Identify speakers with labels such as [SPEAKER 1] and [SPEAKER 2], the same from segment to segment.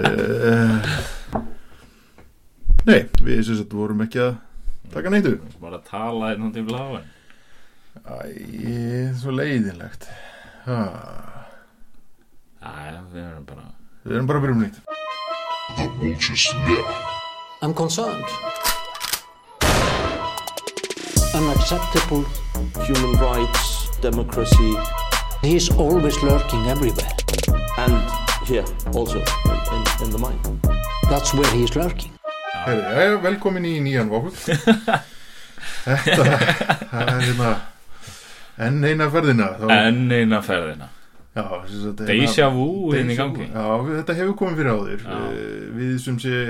[SPEAKER 1] uh, Nei, við sem sagt vorum ekki að taka neittu
[SPEAKER 2] Bara að tala hérna einn hóndi í bláin
[SPEAKER 1] Æ, svo leiðinlegt ha,
[SPEAKER 2] Æ, við erum bara
[SPEAKER 1] Við erum bara að byrja um nýtt
[SPEAKER 3] I'm concerned. Unacceptable.
[SPEAKER 4] human rights, democracy,
[SPEAKER 3] He's always lurking everywhere.
[SPEAKER 4] and here also in, in, in the mind.
[SPEAKER 3] That's where he's lurking.
[SPEAKER 1] Heyrðu, jæja, velkomin í nýjan vákul Þetta það er hérna enn eina ferðina þá,
[SPEAKER 2] Enn eina ferðina
[SPEAKER 1] já, sem sagt, hérna-
[SPEAKER 2] Deja vu inn í
[SPEAKER 1] Deja vu.
[SPEAKER 2] gangi
[SPEAKER 1] Já, við- þetta hefur komið fyrir áður
[SPEAKER 2] Já.
[SPEAKER 1] Eh, Við sem sé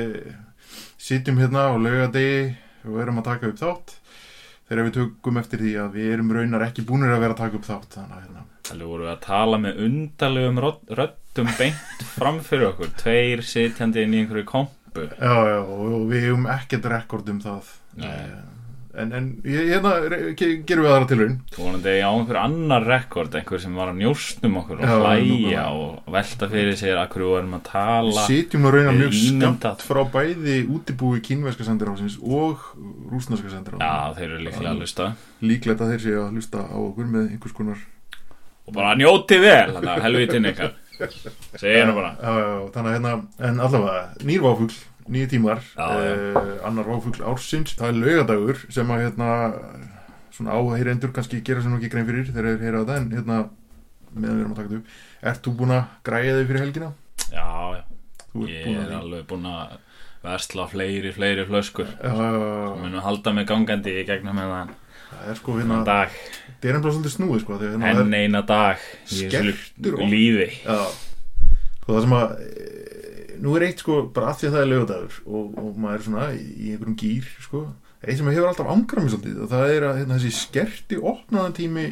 [SPEAKER 1] sitjum hérna á laugadegi og erum að taka upp þátt þegar við tökum eftir því að við erum raunar ekki búnir að vera að taka upp þátt þannig að hérna,
[SPEAKER 2] Þannig vorum við að tala með undarlegum rödd- röddum beint fram fyrir okkur Tveir sitjandi inn í einhverju kompu
[SPEAKER 1] já, já, og, og við hefum ekkert rekord um það
[SPEAKER 2] Nei.
[SPEAKER 1] Eh, en, en ég- hérna re- ge- gerum við aðra tilraun
[SPEAKER 2] Vonandi á einhver annar rekord Einhver sem var að njóstnum okkur
[SPEAKER 1] Já,
[SPEAKER 2] og hlæja
[SPEAKER 1] nákvæmlega.
[SPEAKER 2] og velta fyrir sér að hverju varum að tala
[SPEAKER 1] sitjum að raunar mjög
[SPEAKER 2] Ímyndað.
[SPEAKER 1] skamt frá bæði útibúi kínverska sendiráðsins og rúsnarska sendiráðsins
[SPEAKER 2] Já, þeir eru líklega að lusta
[SPEAKER 1] líklegt að þeir séu að hlusta á okkur með einhvers konar
[SPEAKER 2] Og bara njóti vel, þannig að helvitin ykkar Segir nú bara
[SPEAKER 1] Já, já, já, þannig að hérna, en allavega, nýr váfugl, nýju tímar,
[SPEAKER 2] Já, já.
[SPEAKER 1] Eh, annar váfugl ársins, það er laugadagur sem að hérna, svona áheyrendur kannski gera sem ekki grein fyrir þegar þeir heyra þetta, en hérna, meðan við erum að taka þetta upp, ert þú búin að græja þig fyrir helgina?
[SPEAKER 2] Já, já
[SPEAKER 1] Þú ert
[SPEAKER 2] Ég
[SPEAKER 1] búin
[SPEAKER 2] er
[SPEAKER 1] að því.
[SPEAKER 2] alveg búinn að versla fleiri, fleiri flöskur
[SPEAKER 1] Já, já, já, já,
[SPEAKER 2] Munu halda mig gangandi í gegnum hennan
[SPEAKER 1] það er sko
[SPEAKER 2] Hennan
[SPEAKER 1] hérna,
[SPEAKER 2] dag,
[SPEAKER 1] það er nefnilega svolítið snúið sko, þegar hérna,
[SPEAKER 2] henn eina dag í þessu
[SPEAKER 1] Skerptur og-
[SPEAKER 2] lífi
[SPEAKER 1] Já Sko það sem að e, Nú er eitt sko bara að því að það er lögadagur og, og maður er svona í í einhverjum gýr sko. Eitt sem hefur alltaf angrað mér svolítið og það er að hérna, þessi skerti opnaðan tími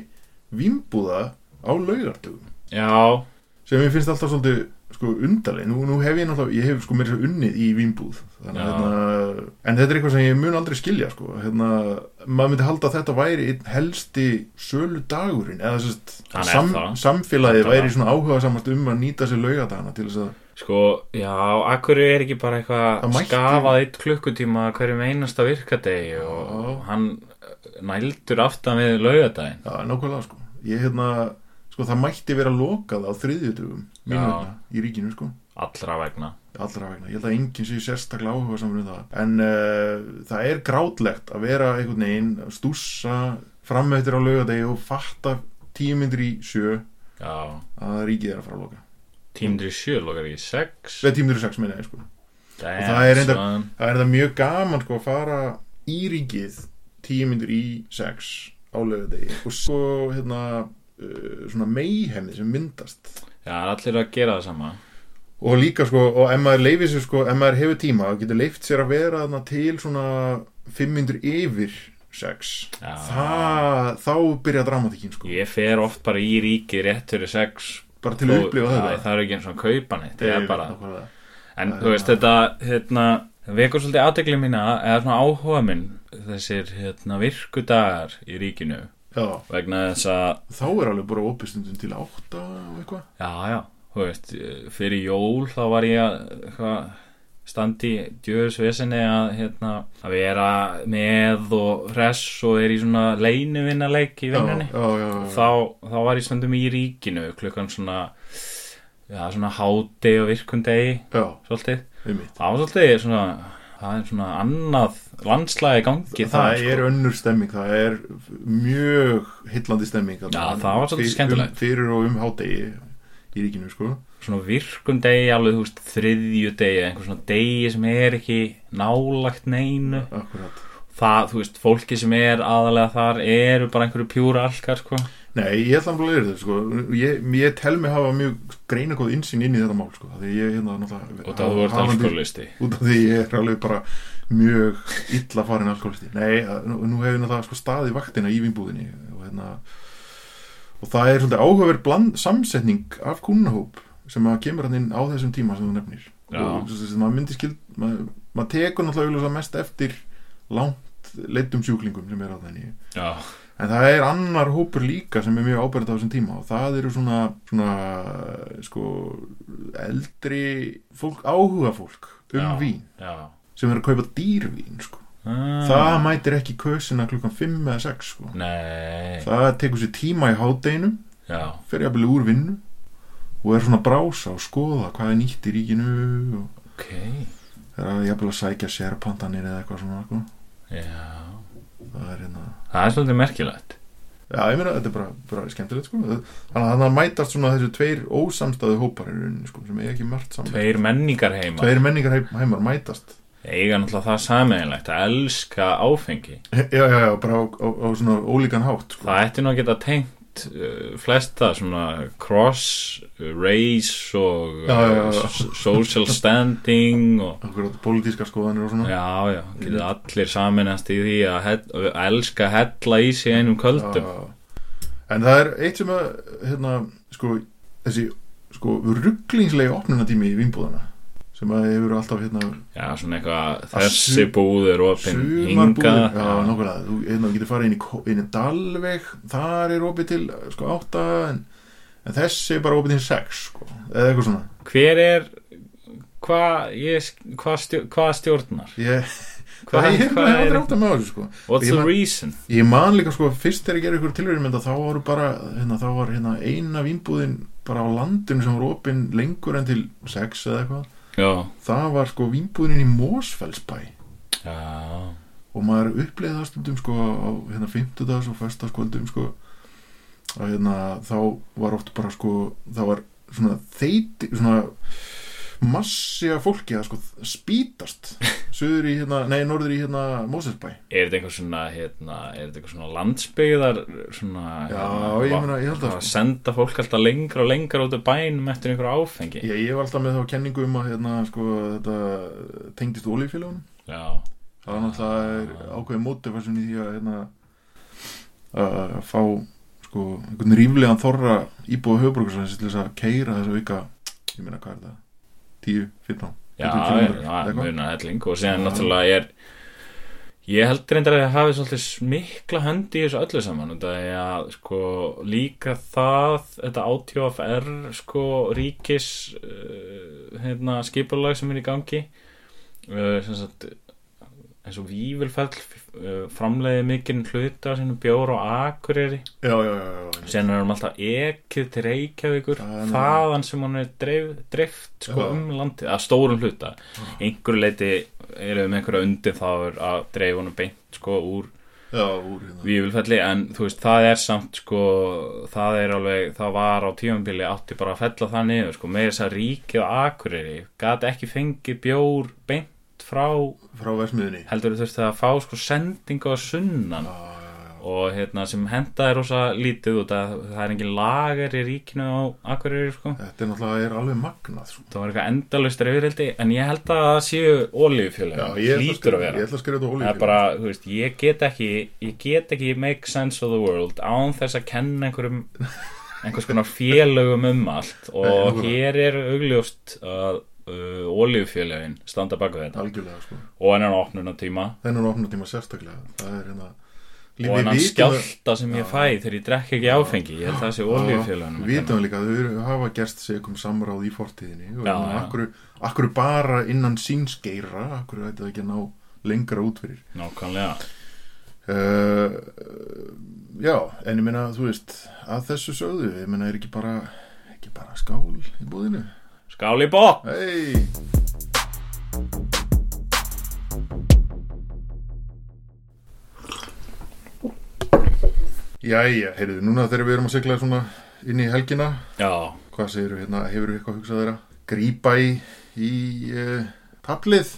[SPEAKER 1] vimbúða á laugardugum
[SPEAKER 2] Já,
[SPEAKER 1] sem ég finnst alltaf svolítið sko undarleg nú, nú hef ég náttúrulega, ég hef sko mér svo unnið í vimbúð þannig, að,
[SPEAKER 2] Já.
[SPEAKER 1] hérna, en þetta er eitthvað sem ég mun aldrei skilja sko hérna, maður myndi halda að þetta væri einn helsti sölu dagurinn eða sérst,
[SPEAKER 2] Hann er
[SPEAKER 1] sam,
[SPEAKER 2] það.
[SPEAKER 1] samfélagið
[SPEAKER 2] Þetta
[SPEAKER 1] væri
[SPEAKER 2] var.
[SPEAKER 1] svona áhuga samast um að nýta sér laugadagana til þess að
[SPEAKER 2] sko, já, akkur er ekki bara
[SPEAKER 1] Það
[SPEAKER 2] eitthvað
[SPEAKER 1] mætti-
[SPEAKER 2] skafað eitt klukkutíma að hverjum einasta virkadegi og
[SPEAKER 1] Já.
[SPEAKER 2] og hann eh, nældur aftan við laugadaginn
[SPEAKER 1] já, nákvæmlega sko ég hérna, sko það mætti vera lokað á þriðjutugum mínu
[SPEAKER 2] Já.
[SPEAKER 1] vegna í ríkinu sko
[SPEAKER 2] allra vegna
[SPEAKER 1] allra vegna, ég held að enginn sé sérstaklega áhuga saman um það en uh, það er grátlegt að vera einhvern veginn að stússa framöftir á laugadegi og fatta tíu myndir í sjö
[SPEAKER 2] Já,
[SPEAKER 1] að ríkið er að fara að loka
[SPEAKER 2] tímdur í sjö, lokar ekki í sex
[SPEAKER 1] eða tíu myndir í sex minna sko.
[SPEAKER 2] Damn,
[SPEAKER 1] það er reyndar-
[SPEAKER 2] son.
[SPEAKER 1] það er það mjög gaman sko, að fara í ríkið tíu myndir í sex á laugadegi og svo hérna uh, svona meihemið sem myndast
[SPEAKER 2] Já, það er allir að gera það sama
[SPEAKER 1] og líka sko, og ef maður leifir sér sko, ef maður hefur tíma og getur leift sér að vera þarna til svona 500 yfir 6
[SPEAKER 2] Já.
[SPEAKER 1] það, þá byrja dramatíkin sko,
[SPEAKER 2] Ég fer oft bara í ríki rétt fyrir sex
[SPEAKER 1] bara til að
[SPEAKER 2] Og-
[SPEAKER 1] upplifa
[SPEAKER 2] Æ,
[SPEAKER 1] þetta
[SPEAKER 2] það er ekki eins og að kaupa neitt það er bara,
[SPEAKER 1] nákvæmlega.
[SPEAKER 2] en
[SPEAKER 1] það er
[SPEAKER 2] þú veist
[SPEAKER 1] bara-
[SPEAKER 2] þetta hérna, vekur svolítið aðdegli mína eða svona áhuga minn þessir hérna, virkudagar í ríkinu
[SPEAKER 1] já,
[SPEAKER 2] vegna þess að
[SPEAKER 1] þá er alveg bara opistundum til 8 og eitthvað
[SPEAKER 2] já, já, þú veist, fyrir jól þá var ég að hva, standi djöðsvesinni að, hérna, að vera með og hress og er í svona leinuvinnaleik í
[SPEAKER 1] já,
[SPEAKER 2] vinnunni
[SPEAKER 1] já, já, já.
[SPEAKER 2] þá, þá var ég stundum í ríkinu klukkan svona já, svona hádegi og virkundegi
[SPEAKER 1] já,
[SPEAKER 2] svolítið
[SPEAKER 1] einmitt
[SPEAKER 2] Það var svolítið svona, það er svona annað landslæði gangi
[SPEAKER 1] Það,
[SPEAKER 2] sko.
[SPEAKER 1] er önnur stemming, það er mjög hillandi stemming þarna.
[SPEAKER 2] Já, það var svolítið
[SPEAKER 1] Fyr-
[SPEAKER 2] skemmtilegt.
[SPEAKER 1] um- Fyrir og um hádegi í ríkinu sko
[SPEAKER 2] Svona virkum degi, alveg þú veist, þriðju degi, einhver svona degi sem er ekki nálagt neinu.
[SPEAKER 1] Akkurat
[SPEAKER 2] Það, þú veist, fólki sem er aðalega þar eru bara einhverju pjúra alkar, sko.
[SPEAKER 1] Nei, ég ætla að leira þetta sko. ég, ég tel mig hafa mjög greina góð insýn inn í þetta mál sko. því ég hérna náttúrulega
[SPEAKER 2] Og það þú ert
[SPEAKER 1] hafandi-
[SPEAKER 2] alkoholisti.
[SPEAKER 1] út af því ég er alveg bara mjög illa farin alkoholisti Nei, að- nú, nú hefur náttúrulega sko staði vaktina í vinnbúðinni og hérna og það er svona áhugaverð bland, samsetning af kúnahóp sem að kemur hann inn á þessum tíma sem þú nefnir
[SPEAKER 2] Já.
[SPEAKER 1] og svo- svo- svo maður myndi skil maður, maður tekur náttúrulega augljóslega mest eftir langt leitum sjúklingum sem er á þenni
[SPEAKER 2] Já,
[SPEAKER 1] En það er annar hópur líka sem er mjög ábyrgð á þessum tíma og það eru svona, svona sko, eldri fólk, áhuga fólk um
[SPEAKER 2] Já.
[SPEAKER 1] vín
[SPEAKER 2] já.
[SPEAKER 1] sem eru að kaupa dýrvín sko.
[SPEAKER 2] Ah,
[SPEAKER 1] Það mætir ekki kösina klukkan 5 eða 6 sko.
[SPEAKER 2] Nei,
[SPEAKER 1] Það tekur sér tíma í hádeinum,
[SPEAKER 2] já,
[SPEAKER 1] fer jafnvel úr vinnu og er svona að brása og skoða hvað er nýtt í ríkinu og
[SPEAKER 2] ok,
[SPEAKER 1] það er jafnvel að sækja sérpandanir eða eitthvað svona sko.
[SPEAKER 2] já.
[SPEAKER 1] Það er hérna
[SPEAKER 2] Það er svolítið merkilegt.
[SPEAKER 1] Já, ég meina, þetta er bara, bara skemmtilegt sko. Þannig að þannig mætast svona þessu tveir ósamstæðu hópar í rauninni sko, sem er ekki margt saman.
[SPEAKER 2] Tveir menningar heima.
[SPEAKER 1] tveir menningar heimar mætast.
[SPEAKER 2] Eiga náttúrulega það sameinlegt að elska áfengi.
[SPEAKER 1] Já, já, já, bara á, á, á svona ólíkan hátt sko.
[SPEAKER 2] Það ætti nú að geta tengt uh, flesta svona cross, uh, race og uh,
[SPEAKER 1] Já, já, já.
[SPEAKER 2] s- social standing og...
[SPEAKER 1] Okkur átt pólitískar skoðanir og svona.
[SPEAKER 2] Já, já, getið allir saminast í því að, hell, að elska að hella í sig einum köldum.
[SPEAKER 1] En það er eitt sem að, hérna, sko, þessi, sko, rugglingslegi opnunatími í vinnbúðana sem að hefur alltaf, hérna,
[SPEAKER 2] Já, svona eitthvað,
[SPEAKER 1] Að
[SPEAKER 2] þessi
[SPEAKER 1] su-
[SPEAKER 2] búð er opinn hingað.
[SPEAKER 1] Sumarbúðir, já, nákvæmlega, þú hérna, þú getur farið inn í, Ko- inn í Dalveg, þar er opið til sko átta, en, en þessi er bara opið til sex, sko, eða eitthvað svona.
[SPEAKER 2] Hver er, hvað hva stjórn, hva stjórnar?
[SPEAKER 1] Ég,
[SPEAKER 2] Hvað
[SPEAKER 1] það er
[SPEAKER 2] hva
[SPEAKER 1] bara
[SPEAKER 2] er,
[SPEAKER 1] aldrei átt að með þessu, sko.
[SPEAKER 2] what's
[SPEAKER 1] ég
[SPEAKER 2] the
[SPEAKER 1] man-
[SPEAKER 2] reason?
[SPEAKER 1] Ég man líka, sko, fyrst þegar ég gerði ykkur tilverjum, þá voru bara, hérna, þá var hérna eina vínbúðin bara á landinu sem voru opið lengur en til sex eða eitthvað.
[SPEAKER 2] Já,
[SPEAKER 1] Það var, sko, vínbúðin í Mósfellsbæ.
[SPEAKER 2] já,
[SPEAKER 1] og maður uppleiði það stundum sko á hérna 50 dags og festaskvöldum sko að hérna þá var oft bara sko það var svona þeiti svona massi af fólki að sko spítast söður í hérna, nei norður í hérna Mósesbæ
[SPEAKER 2] er þetta einhver svona, hérna, er þetta einhver svona landsbyggðar, svona,
[SPEAKER 1] Já,
[SPEAKER 2] hérna,
[SPEAKER 1] ég
[SPEAKER 2] va-
[SPEAKER 1] meina, ég held að
[SPEAKER 2] va-
[SPEAKER 1] sko.
[SPEAKER 2] senda fólk alltaf lengra og lengra út af bænum eftir einhverju áfengi.
[SPEAKER 1] ég, ég var alltaf með þá kenningu um að hérna sko þetta tengdist olífélagunum
[SPEAKER 2] Já,
[SPEAKER 1] það var náttúrulega er ákveðið mótið fyrir því að hérna að fá sko einhvern ríflegan þorra íbúða höfbrukarsvæðis til þess að keira þess að vika ég meina hvað er það? 10, 15 20
[SPEAKER 2] já, já,
[SPEAKER 1] kílómetrar,
[SPEAKER 2] já,
[SPEAKER 1] eitthvað.
[SPEAKER 2] munar helling og síðan
[SPEAKER 1] Já.
[SPEAKER 2] náttúrulega er, ég held reyndar að það hafi svolítið mikla hönd í þessu öllu saman, þetta er að, sko, líka það, þetta átjófr, sko, ríkis, uh, hérna, skipulag sem er í gangi, uh, sem sagt, eins og Vífilfell uh, framleiði mikinn hluta af sínum bjór og akureyri
[SPEAKER 1] Já, já, já, já, já.
[SPEAKER 2] sen er hann alltaf ekið til Reykjavíkur
[SPEAKER 1] Það er nú-
[SPEAKER 2] þaðan sem hann er dreif, dreift sko,
[SPEAKER 1] Já.
[SPEAKER 2] um landið, að stórum hluta einhverju leiti eru um einhverja undir þá er að dreif hann beint sko, úr
[SPEAKER 1] já úr hérna
[SPEAKER 2] Vífilfelli en þú veist, það er samt sko, það er alveg, það var á tímanbili átti bara að fella það niður sko, með þess að ríkið og akureyri gat ekki fengið bjór beint frá
[SPEAKER 1] frá versmiðinni
[SPEAKER 2] heldur þurfti að fá sko sendingu á sunnan
[SPEAKER 1] Já, já, já.
[SPEAKER 2] og hérna sem henda er rosa lítið út að það er engin lagar í ríkinu á Akureyri sko
[SPEAKER 1] Þetta er náttúrulega er alveg magnað sko.
[SPEAKER 2] það var eitthvað endalaust reyfrildi en ég held að það séu olíufjölega
[SPEAKER 1] ég ætla að
[SPEAKER 2] lítur
[SPEAKER 1] skrifa-
[SPEAKER 2] að
[SPEAKER 1] Ég
[SPEAKER 2] vera
[SPEAKER 1] ætla að skrifa þetta
[SPEAKER 2] það er
[SPEAKER 1] olífélag
[SPEAKER 2] bara, þú veist, ég get ekki ég get ekki make sense of the world án þess að kenna einhverjum einhvers konar félögum um allt og
[SPEAKER 1] Nei,
[SPEAKER 2] hér er augljóst að uh, olíufjölegin standa baka þetta
[SPEAKER 1] Algjörlega sko
[SPEAKER 2] og hennan opnuna tíma
[SPEAKER 1] Þennan opnum tíma sérstaklega Það er hérna
[SPEAKER 2] og hennan skjálta sem ég
[SPEAKER 1] Já.
[SPEAKER 2] fæ þegar ég drekk ekki áfengi ég held að það sé olíufjöleginum
[SPEAKER 1] Við vitum líka að þau eru- hafa gerst segum samráð í fortíðinni og
[SPEAKER 2] Já,
[SPEAKER 1] já,
[SPEAKER 2] já.
[SPEAKER 1] akkur, akkur bara innan síns geira, akkur ætti það ekki að ná lengra út fyrir
[SPEAKER 2] Nákvæmlega
[SPEAKER 1] uh, Já, en ég meina þú veist, að þessu sögðu ég meina er ekki bara, ekki bara skál í búðinu
[SPEAKER 2] Skál í bótt!
[SPEAKER 1] Hei Jæja, heyrðu, núna þegar við erum að sigla svona inn í helgina
[SPEAKER 2] Já,
[SPEAKER 1] hvað segir hérna, hefur þú eitthvað hugsað þeirra grípa í, í uh, taplið?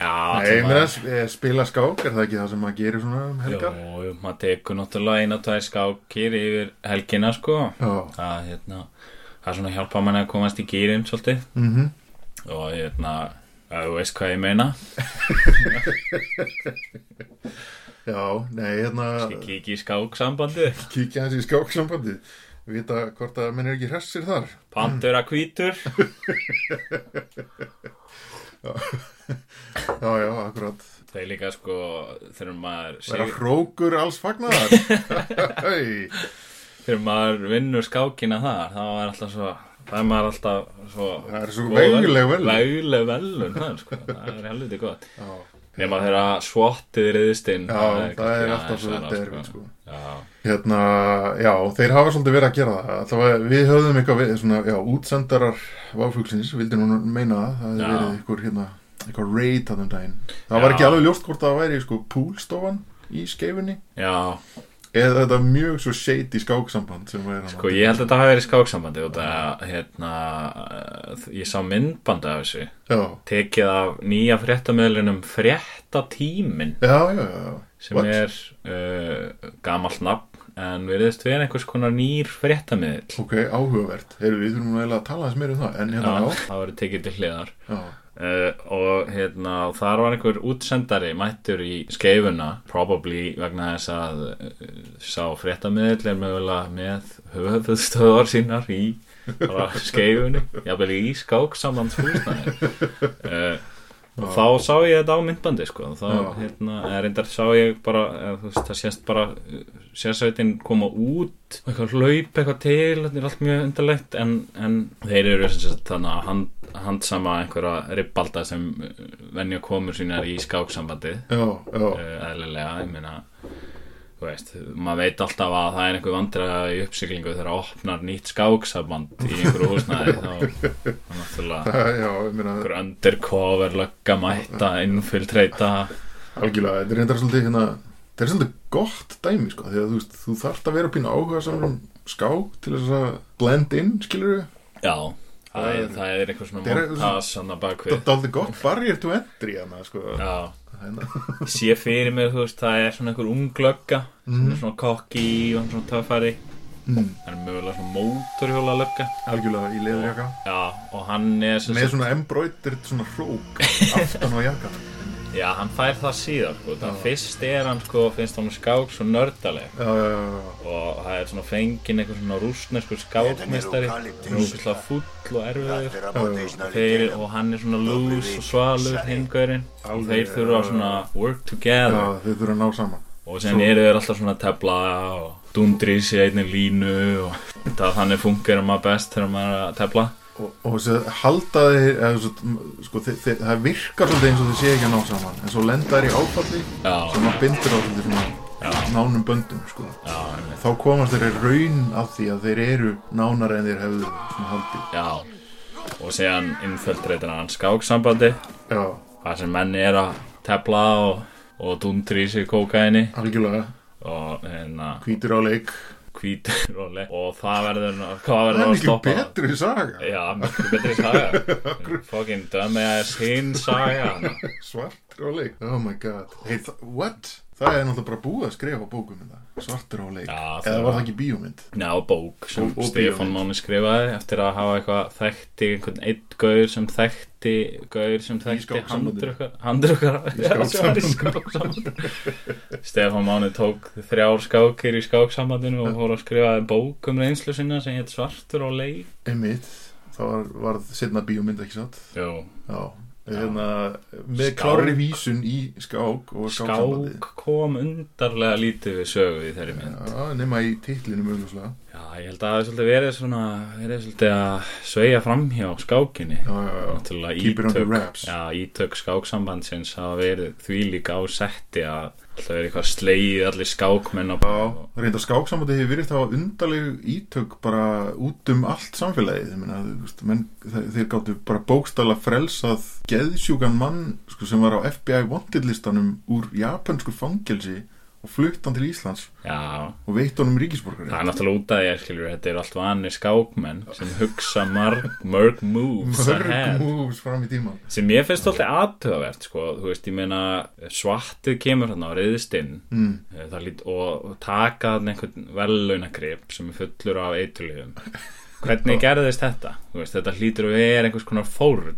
[SPEAKER 2] já
[SPEAKER 1] Nei, mér að eh, spila skák er það ekki það sem maður gerir svona um helga?
[SPEAKER 2] Jú, jú, maður tekur náttúrulega eina og tvær skákir yfir helgina sko
[SPEAKER 1] Já,
[SPEAKER 2] Það, hérna, það er svona hjálpa manni að komast í gýrin svolítið
[SPEAKER 1] mhm
[SPEAKER 2] Og hérna, að þú veist hvað ég meina
[SPEAKER 1] Já, nei, hérna
[SPEAKER 2] Ég kík í skáksambandi
[SPEAKER 1] kíkja hans í skáksambandi vita hvort að menn er ekki hressir þar
[SPEAKER 2] Pandur að hvítur
[SPEAKER 1] já, já, akkurat
[SPEAKER 2] Það er líka sko þegar maður,
[SPEAKER 1] Verða
[SPEAKER 2] sig,
[SPEAKER 1] hrókur alls fagnaðar Hey.
[SPEAKER 2] þegar maður vinnur skákina þar þá er alltaf svo það er maður alltaf svo
[SPEAKER 1] Það er svo vegleg velun.
[SPEAKER 2] vegleg velun þar, sko. það er helviti gott
[SPEAKER 1] Já,
[SPEAKER 2] nema þegar svottið riðist inn
[SPEAKER 1] Já, það
[SPEAKER 2] kannski
[SPEAKER 1] er
[SPEAKER 2] aðeins
[SPEAKER 1] alltaf svo
[SPEAKER 2] annað,
[SPEAKER 1] derfið sko.
[SPEAKER 2] Já,
[SPEAKER 1] Hérna, já, þeir hafa svolítið verið að gera það Alltaf við höfðum eitthvað við, svona, já, útsendarar váflugsins Vildi nú meina það, það
[SPEAKER 2] Já.
[SPEAKER 1] hefði verið eitthvað, hérna, eitthvað raid að þeim daginn Það
[SPEAKER 2] Já.
[SPEAKER 1] var ekki alveg ljóst hvort það væri, sko, púlstofan í skeifunni
[SPEAKER 2] já,
[SPEAKER 1] Eða þetta mjög svo shady skáksamband sem hérna. er hann
[SPEAKER 2] Sko ég held að þetta hafi verið skáksambandi út að hérna, eh, ég sá myndbandi af þessu
[SPEAKER 1] Já,
[SPEAKER 2] tekið af nýja fréttamöðlunum fréttatímin
[SPEAKER 1] já, já, já, já.
[SPEAKER 2] sem
[SPEAKER 1] What?
[SPEAKER 2] er uh, gamalt nafn en veriðist vera einhvers konar nýr fréttamöðl
[SPEAKER 1] Ok, áhugavert Heyrðu, við þurfum nú eiginlega að tala aðeins meira um það En
[SPEAKER 2] það
[SPEAKER 1] hérna,
[SPEAKER 2] verið tekið til hliðar
[SPEAKER 1] já, já.
[SPEAKER 2] Uh, og hérna þar var einhver útsendari mættur í skeifuna probably vegna þess að uh, sá fréttamiðl er mögulega með höfuðstöðar sínar í bara skeifunni jafnvel í skáksambandsfúsnaði uh, og þá sá ég þetta á myndbandi sko þá
[SPEAKER 1] Já.
[SPEAKER 2] hérna, eða reyndar sá ég bara eða, þú veist, það sést bara uh, sérsveitin koma út og eitthvað hlaup eitthvað til, þetta er allt mjög undarlegt en, en þeir eru sem sagt þannig að hand, handsama einhverja ribbalda sem uh, venja komur sínar í skáksambandið
[SPEAKER 1] Já, já,
[SPEAKER 2] uh, eðlilega, ég meina þú veist, maður veit alltaf að það er einhver vandræða í uppsiglingu þegar það opnar nýtt skáksamband í einhverju húsnæði þá þá náttúrulega
[SPEAKER 1] já, já, ég meina
[SPEAKER 2] einhver undercover lögga mætta, innfiltreita
[SPEAKER 1] Algjörlega, þetta er reyndar svolítið hérna Þetta er svolítið gott dæmi sko Þegar þú veist, þú þarft að vera pínu áhuga samlum skák til þess að blend in skilur við,
[SPEAKER 2] Já, það er,
[SPEAKER 1] Það er-
[SPEAKER 2] það er eitthvað svona
[SPEAKER 1] Það er-
[SPEAKER 2] montas hann að bakvið
[SPEAKER 1] þetta er alveg gott barrier to entry hana sko
[SPEAKER 2] Já,
[SPEAKER 1] hérna.
[SPEAKER 2] sé fyrir mig, þú veist, það er svona einhver ung lögga sem er svona kokki og svona töffari
[SPEAKER 1] mm,
[SPEAKER 2] Það er mögulega svona mótorhjóla lögga
[SPEAKER 1] Algjörlega í leðurjaka
[SPEAKER 2] Já, og hann er sem
[SPEAKER 1] Með
[SPEAKER 2] sagt
[SPEAKER 1] svona embroider, svona hrók aftan á jakkan
[SPEAKER 2] Já, hann fær það síðan, sko Það fyrst er hann, sko, finnst hann skák svo nördaleg
[SPEAKER 1] Já, já, já, já,
[SPEAKER 2] og það er svona fenginn einhver svona rúsneskur skákmestari sem er svona fúll og erfiður þeir, og hann er svona loose og svalur hingurinn og
[SPEAKER 1] Alveg,
[SPEAKER 2] þeir þurfa
[SPEAKER 1] já,
[SPEAKER 2] svona work
[SPEAKER 1] já,
[SPEAKER 2] together
[SPEAKER 1] þau þurfa að ná saman
[SPEAKER 2] og sem eru þeir alltaf svona að tefla og dundri í sig einni línu og það þannig fungerar maður best þegar maður er að tefla
[SPEAKER 1] Og, og þessi halda þeir, eða, svo- sko, þeir, þeir, það virkar svolítið eins og þeir sé ekki að ná saman En svo lenda þeir í áfalli
[SPEAKER 2] já,
[SPEAKER 1] sem að bindur á svolítið svona nánum böndum sko.
[SPEAKER 2] já, einmitt.
[SPEAKER 1] þá komast þeir í raun af því að þeir eru nánar en þeir hefðu svona haldið
[SPEAKER 2] já og séðan innföldreitir hann skáksambandi
[SPEAKER 1] já,
[SPEAKER 2] þar sem menn er að tefla og, og dundri í sig kókaini
[SPEAKER 1] algjörlega,
[SPEAKER 2] og hérna
[SPEAKER 1] hvítur á leik
[SPEAKER 2] hvítur og leik og það verður hvað
[SPEAKER 1] það
[SPEAKER 2] verður
[SPEAKER 1] er
[SPEAKER 2] að
[SPEAKER 1] mikið
[SPEAKER 2] stoppa það?
[SPEAKER 1] betri saga
[SPEAKER 2] já, miklu betri saga fucking dömi að sín saga
[SPEAKER 1] svartur á leik, oh my god hey, þa- what? það er náttúrulega bara búið að skrifa bókum um það, svartur á leik
[SPEAKER 2] Já,
[SPEAKER 1] eða
[SPEAKER 2] það-
[SPEAKER 1] var það ekki bíómynd
[SPEAKER 2] Já, bók sem
[SPEAKER 1] Og- og
[SPEAKER 2] Stefán
[SPEAKER 1] bíómynd.
[SPEAKER 2] Máni skrifaði eftir að hafa eitthvað þekkti einhvern eitt gaur sem þekkti gaur sem þekkti
[SPEAKER 1] skáksambandinu.
[SPEAKER 2] handrukkar handrukkar Já, sem var í skáksambandinu. Stefán Máni tók þrjár skákir í skáksambandinu og fór að skrifaði bók um reynslu sinna sem hétt Svartur og leik
[SPEAKER 1] einmitt, þá var, var setna bíómynd ekki satt
[SPEAKER 2] Jú,
[SPEAKER 1] já Hérna, með
[SPEAKER 2] Skák.
[SPEAKER 1] klári vísun í skák og skáksambandi
[SPEAKER 2] skák kom undarlega lítið við sögu í þeirri mynd
[SPEAKER 1] Já, nema í titlinum auðvitað
[SPEAKER 2] Já, ég held að það er svolítið verið svona verið svolítið að sveja framhjá skákinni
[SPEAKER 1] Já, já, já
[SPEAKER 2] náttúrulega
[SPEAKER 1] Keep it on the
[SPEAKER 2] ítök-
[SPEAKER 1] wraps.
[SPEAKER 2] já, ítök skáksambandsins hafa verið því líka á setti að alltaf verið eitthvað slegið allir skákmenn og,
[SPEAKER 1] Já, reynda skáksamandi hefur verið þá undarleg ítök bara út um allt samfélagið, ég meina, þú veist, menn, þe- þeir gáttu bara bókstala frelsað geðsjúkan mann sko, sem var á FBI wanted listanum úr japansku fangelsi og flutt hann til Íslands
[SPEAKER 2] já,
[SPEAKER 1] og veitt honum ríkisborgari.
[SPEAKER 2] það er náttúrulega út að ég skilur þetta er allt vanir skákmenn sem hugsa marg, mörg moves
[SPEAKER 1] Mörg
[SPEAKER 2] ahead
[SPEAKER 1] moves fram í tíman.
[SPEAKER 2] sem ég finnst alltaf aðtöfavert sko, þú veist, ég meina svartið kemur hann á reyðistinn
[SPEAKER 1] Mm.
[SPEAKER 2] lít, og, og taka hann einhvern velunagrip sem er fullur af eiturlífum hvernig gerðist þetta? Þú Veist, þetta hlýtur að vera einhvers konar fórn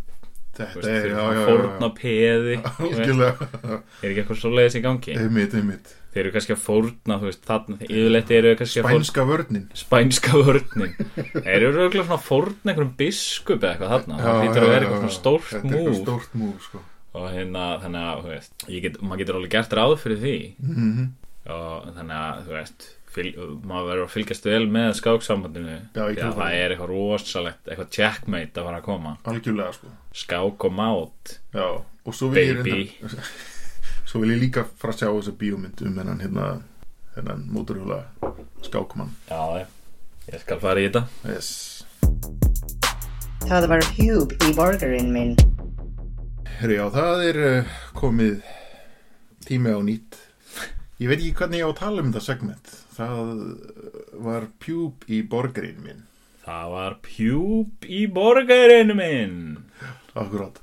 [SPEAKER 2] Þú
[SPEAKER 1] Þetta
[SPEAKER 2] veist,
[SPEAKER 1] er,
[SPEAKER 2] þeir
[SPEAKER 1] já,
[SPEAKER 2] eru
[SPEAKER 1] já,
[SPEAKER 2] að
[SPEAKER 1] já,
[SPEAKER 2] fórna
[SPEAKER 1] já,
[SPEAKER 2] peði þú veist,
[SPEAKER 1] algjörlega,
[SPEAKER 2] er ekki eitthvað svo leiðis í gangi
[SPEAKER 1] einmitt, einmitt.
[SPEAKER 2] þeir eru kannski að fórna þú veist, þarna, yfirleitt eru þeir kannski að fórna
[SPEAKER 1] Spænska vörnin
[SPEAKER 2] spænska vörnin þeir eru auðvitað svona að fórna einhverjum biskup eða eitthvað þarna það hlýtur að vera eitthvað svona stórt
[SPEAKER 1] Þetta er eitthvað
[SPEAKER 2] múf
[SPEAKER 1] stórt múf sko.
[SPEAKER 2] og hérna, þannig að, þú veist ég get, maður getur alveg gert ráð fyrir því
[SPEAKER 1] Mhm,
[SPEAKER 2] og þannig að, þú veist fyl, maður verður að fylgjast vel með skáksambandinu
[SPEAKER 1] Já, ég
[SPEAKER 2] því að
[SPEAKER 1] trúi
[SPEAKER 2] það
[SPEAKER 1] því.
[SPEAKER 2] er eitthvað rosalegt eitthvað checkmate að fara að koma
[SPEAKER 1] Algjörlega sko
[SPEAKER 2] skák og mát
[SPEAKER 1] Já, og svo vil ég
[SPEAKER 2] baby
[SPEAKER 1] reynda Svo vil ég líka frá sjá þessa bíómynd um hennan hérna hennan móturhjóla skákumann
[SPEAKER 2] já, já. ég skal fara í þetta
[SPEAKER 1] yes.
[SPEAKER 5] Það var hjúb í borgarinn minn.
[SPEAKER 1] Herri, já, það er uh, komið tími á nýtt Ég veit ekki hvernig ég á að tala um þetta segment Það uh, var pjúb í borgarinn minn
[SPEAKER 2] það var pjúb í borgarinu minn
[SPEAKER 1] Akkurát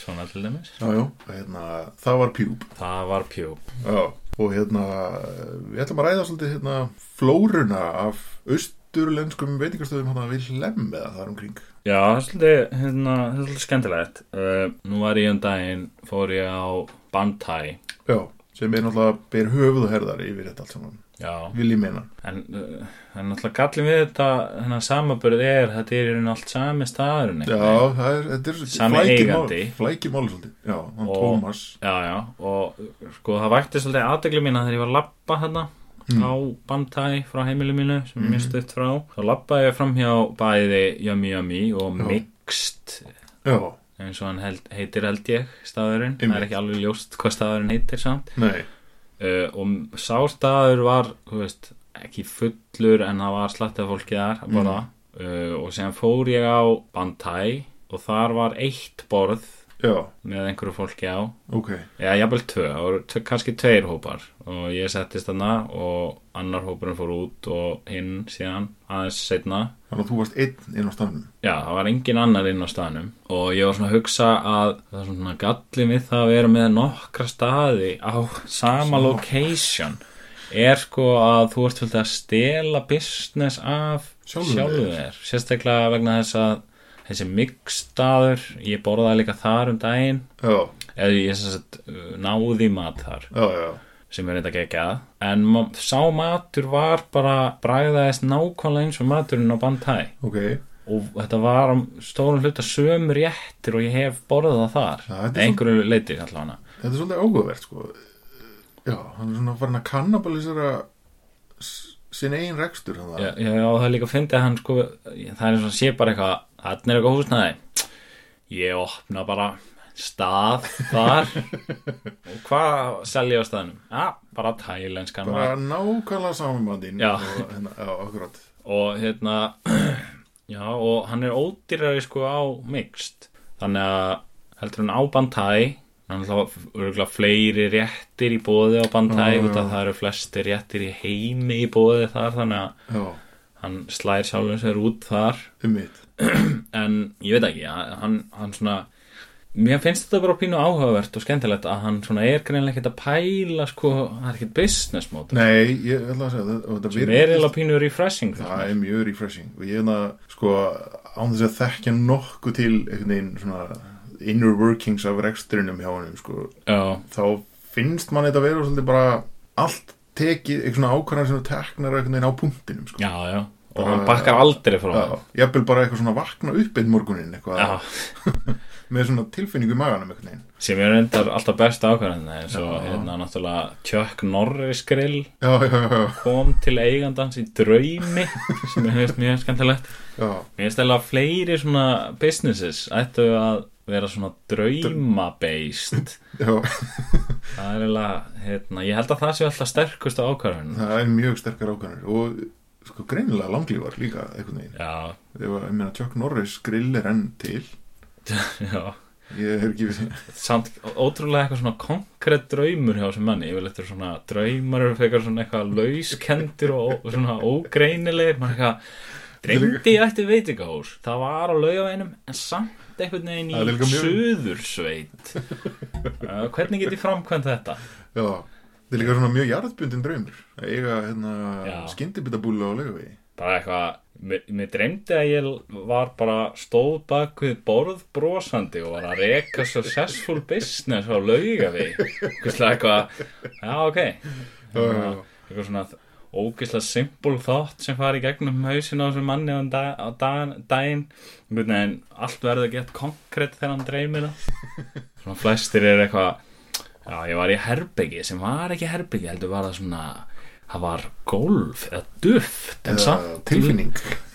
[SPEAKER 2] svona til dæmis
[SPEAKER 1] Já, já, hérna, það var pjúb
[SPEAKER 2] það var pjúb
[SPEAKER 1] Já, og hérna við ætlum að ræða svolítið hérna flóruna af austurlenskum veitingastöðum hérna við hlem eða þar umkring
[SPEAKER 2] Já, það er svolítið, hérna, það er svolítið skemmtilegt. Uh, nú var ég um daginn, fór ég á Bantai,
[SPEAKER 1] Já, sem er náttúrulega ber höfuðherðar yfir þetta allt saman,
[SPEAKER 2] já,
[SPEAKER 1] vil ég meina
[SPEAKER 2] en uh, en náttúrulega gallin við þetta, hennar samaburð er, þetta er í raun allt sami staðurinn.
[SPEAKER 1] Já, það er, þetta er
[SPEAKER 2] Sami eigandi.
[SPEAKER 1] flækimál svolítið Já, hann
[SPEAKER 2] Og-
[SPEAKER 1] Tómas
[SPEAKER 2] Já, já, og uh, sko það vækti svolítið aðdeglu mína þegar ég var að labba hérna
[SPEAKER 1] Hmm.
[SPEAKER 2] á Bantai frá heimilu mínu sem mm. misti upp frá. Þá labbaði ég fram hjá bæði Yummy Yummy og
[SPEAKER 1] Já.
[SPEAKER 2] Mixed
[SPEAKER 1] Já,
[SPEAKER 2] eins og hann held, heitir held ég staðurinn, það
[SPEAKER 1] Einmitt.
[SPEAKER 2] er ekki alveg ljóst hvað staðurinn heitir samt
[SPEAKER 1] nei,
[SPEAKER 2] uh, og sá staður var þú veist, ekki fullur en það var slatti af fólki þar að borða uh, og sem fór ég á Bantai og þar var eitt borð
[SPEAKER 1] já,
[SPEAKER 2] með einhverju fólki á
[SPEAKER 1] ok
[SPEAKER 2] Já, jafnvel tvö, það voru tve- kannski tveir hópar og ég settist þarna og annar hópurinn fór út og hinn síðan aðeins setna
[SPEAKER 1] Þannig að þú varst einn inn á stafnum
[SPEAKER 2] Já, það var engin annar inn á staðnum og ég var svona að hugsa að það er svona galli við það að vera með nokkra staði á sama location er sko að þú ert svolítið að stela business af
[SPEAKER 1] Sjálfum
[SPEAKER 2] sjálfum þér sérstaklega vegna þess að þessi mixstaður, ég borðaði líka þar um daginn
[SPEAKER 1] Já,
[SPEAKER 2] eða ég sem sagt uh, náði í mat þar
[SPEAKER 1] já, já,
[SPEAKER 2] sem er þetta gekkjað en ma- sá matur var bara bragðaðist nákvæmlega eins og maturinn á bandhæ
[SPEAKER 1] ok
[SPEAKER 2] og þetta var á stórum hluta söm réttir og ég hef borðað það þar
[SPEAKER 1] Já, þetta er
[SPEAKER 2] einhverju leiti allavega
[SPEAKER 1] Þetta er svolítið áhugavert sko Já, hann er svona farin að kannabalisera s- sinn eigin rekstur hann
[SPEAKER 2] já, já, já, það er líka að fyndi að hann sko það er svona sé bara eitthvað hann er eitthvað húsnæði ég opna bara stað þar og hvað selja ég á staðnum? Já, bara tælenskan
[SPEAKER 1] bara
[SPEAKER 2] mat
[SPEAKER 1] nákvæmlega samanbandin
[SPEAKER 2] Já.
[SPEAKER 1] og, hérna, já, akkurat
[SPEAKER 2] og hérna já, og hann er ódýrari sko á mixt þannig að heldur hann á bandhæ hann er örgulega fleiri réttir í bóði á bandhæ
[SPEAKER 1] Já,
[SPEAKER 2] út
[SPEAKER 1] já.
[SPEAKER 2] að það eru flestir réttir í heimi í bóði þar þannig að
[SPEAKER 1] já,
[SPEAKER 2] hann slær sjálfum sér út þar
[SPEAKER 1] um mitt
[SPEAKER 2] en ég veit ekki, hann, hann svona mér finnst þetta bara pínu áhugavert og skemmtilegt að hann svona er greinlega ekkert að pæla sko, hann er ekkert business móta
[SPEAKER 1] nei, ég ætla að segja það, og þetta
[SPEAKER 2] sem er eiginlega pínu refreshing finnst
[SPEAKER 1] það
[SPEAKER 2] mér.
[SPEAKER 1] er mjög refreshing og ég hefna, sko, án þess að þekkja nokkuð til einhvern veginn svona inner workings af reksturinum hjá hann sko,
[SPEAKER 2] já,
[SPEAKER 1] þá finnst mann þetta vera svolítið bara allt tekið, einhvern svona ákvarðan sem teknar einhvern veginn á punktinum sko.
[SPEAKER 2] já, já og
[SPEAKER 1] Bara-
[SPEAKER 2] hann bakkar aldrei frá
[SPEAKER 1] Já, ég vil bara eitthvað svona vakna upp einn morguninn eitthvað,
[SPEAKER 2] Já,
[SPEAKER 1] með svona tilfinningu í maganum einhvern veginn
[SPEAKER 2] sem er reyndar alltaf best ákvarðan eins og
[SPEAKER 1] Já.
[SPEAKER 2] hérna náttúrulega Chuck Norris grill
[SPEAKER 1] já, já, já, já,
[SPEAKER 2] kom til eigandans í draumi sem er hefist mjög skemmtilegt
[SPEAKER 1] já.
[SPEAKER 2] Mér finnst eða fleiri svona businesses ættu að vera svona drauma-based
[SPEAKER 1] já.
[SPEAKER 2] það er eða, hérna, ég held að það sé alltaf sterkust á ákvarðan
[SPEAKER 1] það er mjög sterkar ákvæmur og sko greinilega langlífar líka einhvern veginn,
[SPEAKER 2] Já,
[SPEAKER 1] ég, var, ég meina Chuck Norris grill er enn til
[SPEAKER 2] já
[SPEAKER 1] ég hef ekki við
[SPEAKER 2] samt ótrúlega eitthvað svona konkrétt draumur hjá þessum manni, ég vil eitthvað svona draumar eru frekar svona eitthvað lauskendur og ó- svona ógreinilegir maður eitthvað, dreymdi ég ætti veitingahús það var á laugaveinum en samt einhvern veginn
[SPEAKER 1] Það er líka
[SPEAKER 2] í
[SPEAKER 1] mjög-
[SPEAKER 2] suðursveit uh, hvernig get ég framkvæmt þetta?
[SPEAKER 1] já, það er líka svona mjög jarðbundin draumur að eiga hérna
[SPEAKER 2] Já.
[SPEAKER 1] skyndibita á laugavegi
[SPEAKER 2] bara eitthvað, mér, mér dreymdi að ég var bara stóð bak við borð brosandi og var að reka successful business á lauga við eitthvað, já ok Hérna, eitthvað svona ógeðslega simple thought sem fari í gegnum hausin á þessum manni á, dag, á dag, daginn einhvern veginn allt verður að geta konkrétt þegar hann dreymir það svona flestir er eitthvað já ég var í herbyggi sem var ekki herbyggi heldur var það svona það var golf eða duft en samt
[SPEAKER 1] tilfinning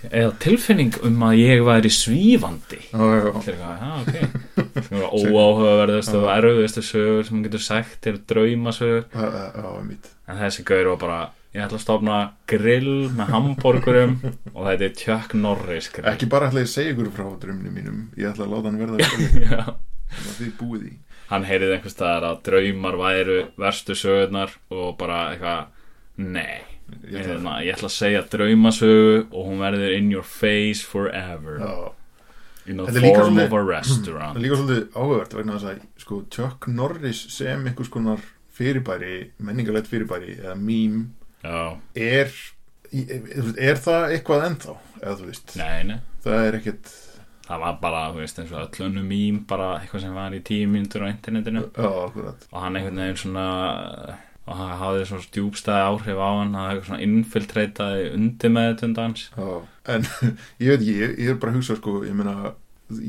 [SPEAKER 2] eða tilfinning um að ég væri svífandi
[SPEAKER 1] já, já, já.
[SPEAKER 2] Allir eitthvað, já, ok Svona óáhugaverðast og erfiðustu sögur sem hún getur sagt er draumasögur
[SPEAKER 1] Já, já, já, einmitt.
[SPEAKER 2] en þessi gaur var bara ég ætla að stofna grill með hambúrgurum og þetta er Chuck Norris grill
[SPEAKER 1] ekki bara ætla ég að segja ykkur frá drömminu mínum ég ætla að láta hann verða að
[SPEAKER 2] Já.
[SPEAKER 1] þið búið í
[SPEAKER 2] hann heyrið einhvers staðar að draumar væru verstu sögurnar og bara eitthvað nei
[SPEAKER 1] Ég
[SPEAKER 2] ég
[SPEAKER 1] ætla-
[SPEAKER 2] ætla, ég ætla að segja draumasögu og hún verður in your face forever
[SPEAKER 1] já
[SPEAKER 2] in the
[SPEAKER 1] Þetta er líka
[SPEAKER 2] form
[SPEAKER 1] svolítið-
[SPEAKER 2] of a
[SPEAKER 1] Það er
[SPEAKER 2] restaurant
[SPEAKER 1] líka svolítið áhugavert vegna þess að sko, Chuck Norris sem einhvers konar fyrirbæri, menningarlegt fyrirbæri eða mím
[SPEAKER 2] já,
[SPEAKER 1] er, er það eitthvað ennþá, eða þú veist
[SPEAKER 2] nei, nei
[SPEAKER 1] það er ekkert
[SPEAKER 2] það var bara, þú veist, eins og öll önnum mím bara eitthvað sem var í tíu mínútur á internetinu
[SPEAKER 1] já, akkurat
[SPEAKER 2] og hann einhvern veginn svona og hann hafði svona stjúbstæði áhrif á hann hann hafði svona infiltrataði undir með þetta hans
[SPEAKER 1] já. en ég veit ekki, ég, ég er bara að hugsa sko, ég meina,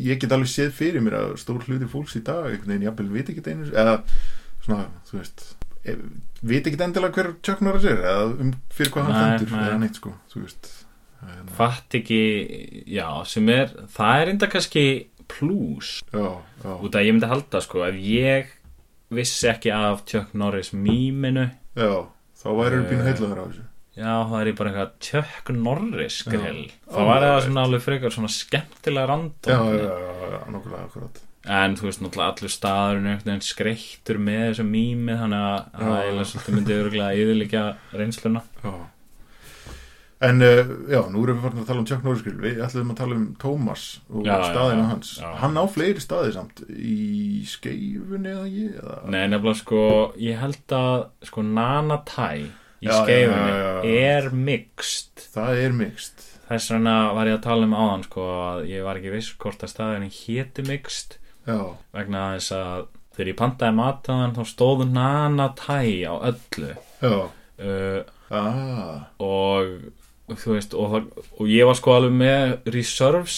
[SPEAKER 1] ég get alveg séð fyrir mér að stór hluti fólks í dag einhvern veginn jafnvel veit ekki einu eða svona, þú veist e- veit ekki endilega hver Chuck Norris er eða um fyrir hvað hann
[SPEAKER 2] Nei,
[SPEAKER 1] fendur
[SPEAKER 2] nei.
[SPEAKER 1] eða neitt sko, þú veist En,
[SPEAKER 2] fatt ekki, já, sem er það er enda kannski plús
[SPEAKER 1] já, já,
[SPEAKER 2] út að ég myndi halda, sko, ef ég vissi ekki af Chuck Norris mýminu
[SPEAKER 1] já þá væri það pínu
[SPEAKER 2] Eh,
[SPEAKER 1] heilaður á þessu
[SPEAKER 2] já, það er ég bara eitthvað Chuck Norris grill
[SPEAKER 1] Já.
[SPEAKER 2] þá var það
[SPEAKER 1] Alright.
[SPEAKER 2] svona alveg frekar svona skemmtilega random
[SPEAKER 1] já, já, já, já, nokkulega akkurat
[SPEAKER 2] en þú veist náttúrulega allur staðurinn er einhvern veginn skreittur með þessu mými þannig að það er eiginlega svolítið myndið örgulega yfirleikja reynsluna
[SPEAKER 1] Já. En uh, já, nú erum við farin að tala um Chuck Norris grill Við ætlum að tala um Thomas og
[SPEAKER 2] Já,
[SPEAKER 1] staðina
[SPEAKER 2] já,
[SPEAKER 1] hans
[SPEAKER 2] já.
[SPEAKER 1] Hann á fleiri staði samt Í skeifunni eða ég eða...
[SPEAKER 2] Nei, nefnilega sko, ég held að sko Nana Tai í
[SPEAKER 1] Já,
[SPEAKER 2] skeifunni
[SPEAKER 1] já, já, já.
[SPEAKER 2] er mixt
[SPEAKER 1] Það er mixt
[SPEAKER 2] þess vegna var ég að tala um áðan sko að ég var ekki viss hvort að staðurinn héti mixt
[SPEAKER 1] Já,
[SPEAKER 2] vegna þess að þegar ég pantaði mataðan þá stóð Nana Tai á öllu
[SPEAKER 1] já
[SPEAKER 2] uh,
[SPEAKER 1] ah,
[SPEAKER 2] og og þú veist og, það, og ég var sko alveg með reserves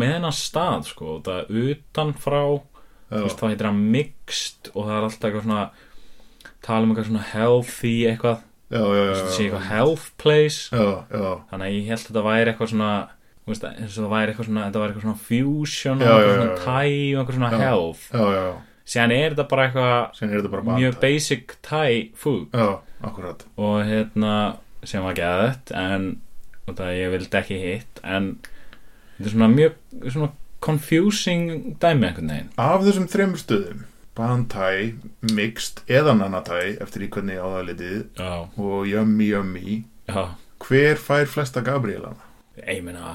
[SPEAKER 2] með hennar stað sko og það utanfrá þú
[SPEAKER 1] já,
[SPEAKER 2] veist það heitir hann mixed og það er alltaf eitthvað svona tala um eitthvað svona healthy eitthvað
[SPEAKER 1] já, já,
[SPEAKER 2] þú
[SPEAKER 1] já,
[SPEAKER 2] veist það sé
[SPEAKER 1] já,
[SPEAKER 2] eitthvað health place
[SPEAKER 1] já, já.
[SPEAKER 2] þannig að ég held að þetta væri eitthvað svona þú veist eins og það væri eitthvað svona þetta væri eitthvað svona fusion
[SPEAKER 1] Já,
[SPEAKER 2] og
[SPEAKER 1] já,
[SPEAKER 2] eitthvað
[SPEAKER 1] já, já.
[SPEAKER 2] svona thai og eitthvað svona
[SPEAKER 1] Já.
[SPEAKER 2] health
[SPEAKER 1] Já, já, já,
[SPEAKER 2] síðan er þetta bara eitthvað
[SPEAKER 1] sen er þetta bara
[SPEAKER 2] mjög
[SPEAKER 1] bata.
[SPEAKER 2] basic thai food
[SPEAKER 1] Já, akkurat
[SPEAKER 2] og hérna sem var geðett en og það ég vildi ekki hitt en þetta er svona mjög svona confusing dæmi einhvern veginn
[SPEAKER 1] Af þessum þremur stöðum Bantai, mixt eða nanatai Eftir í hvernig á það litið
[SPEAKER 2] já,
[SPEAKER 1] Og yummy yummy
[SPEAKER 2] já,
[SPEAKER 1] Hver fær flesta Gabrielana?
[SPEAKER 2] ég meina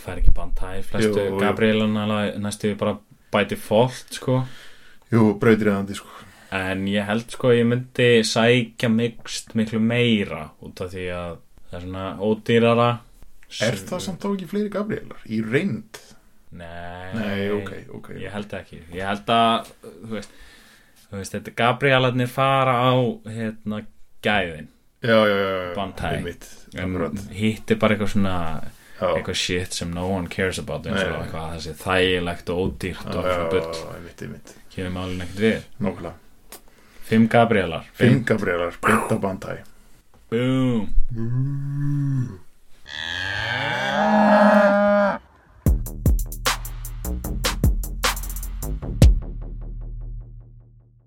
[SPEAKER 2] það er ekki bantæð flestu
[SPEAKER 1] Jú, jú.
[SPEAKER 2] Gabrielana næstu bara by default sko
[SPEAKER 1] Jú, brautir eðandi sko
[SPEAKER 2] en ég held sko að ég myndi sækja mikst miklu meira út af því að það er svona ódýrara
[SPEAKER 1] Er það samt þá ekki fleiri Gabrielar? Í reynd?
[SPEAKER 2] Nei,
[SPEAKER 1] Nei, ok, ok.
[SPEAKER 2] Ég held ekki, ég held að þú veist, þú veist þetta Gabrielarnir fara á hérna gæðin,
[SPEAKER 1] Já, já, já, já.
[SPEAKER 2] Bantai.
[SPEAKER 1] Einmitt,
[SPEAKER 2] En
[SPEAKER 1] akkurat.
[SPEAKER 2] hitt er bara eitthvað svona
[SPEAKER 1] Já.
[SPEAKER 2] eitthvað shit sem no one cares about eins og
[SPEAKER 1] Nei.
[SPEAKER 2] eitthvað þessi þægilegt og ódýrt og
[SPEAKER 1] Já,
[SPEAKER 2] eitthvað bull,
[SPEAKER 1] einmitt, einmitt.
[SPEAKER 2] kemur málinn ekkert við
[SPEAKER 1] Nókulega.
[SPEAKER 2] Fimm Gabrielar
[SPEAKER 1] Fimm Gabrielar, breyta Bantai.
[SPEAKER 2] Boom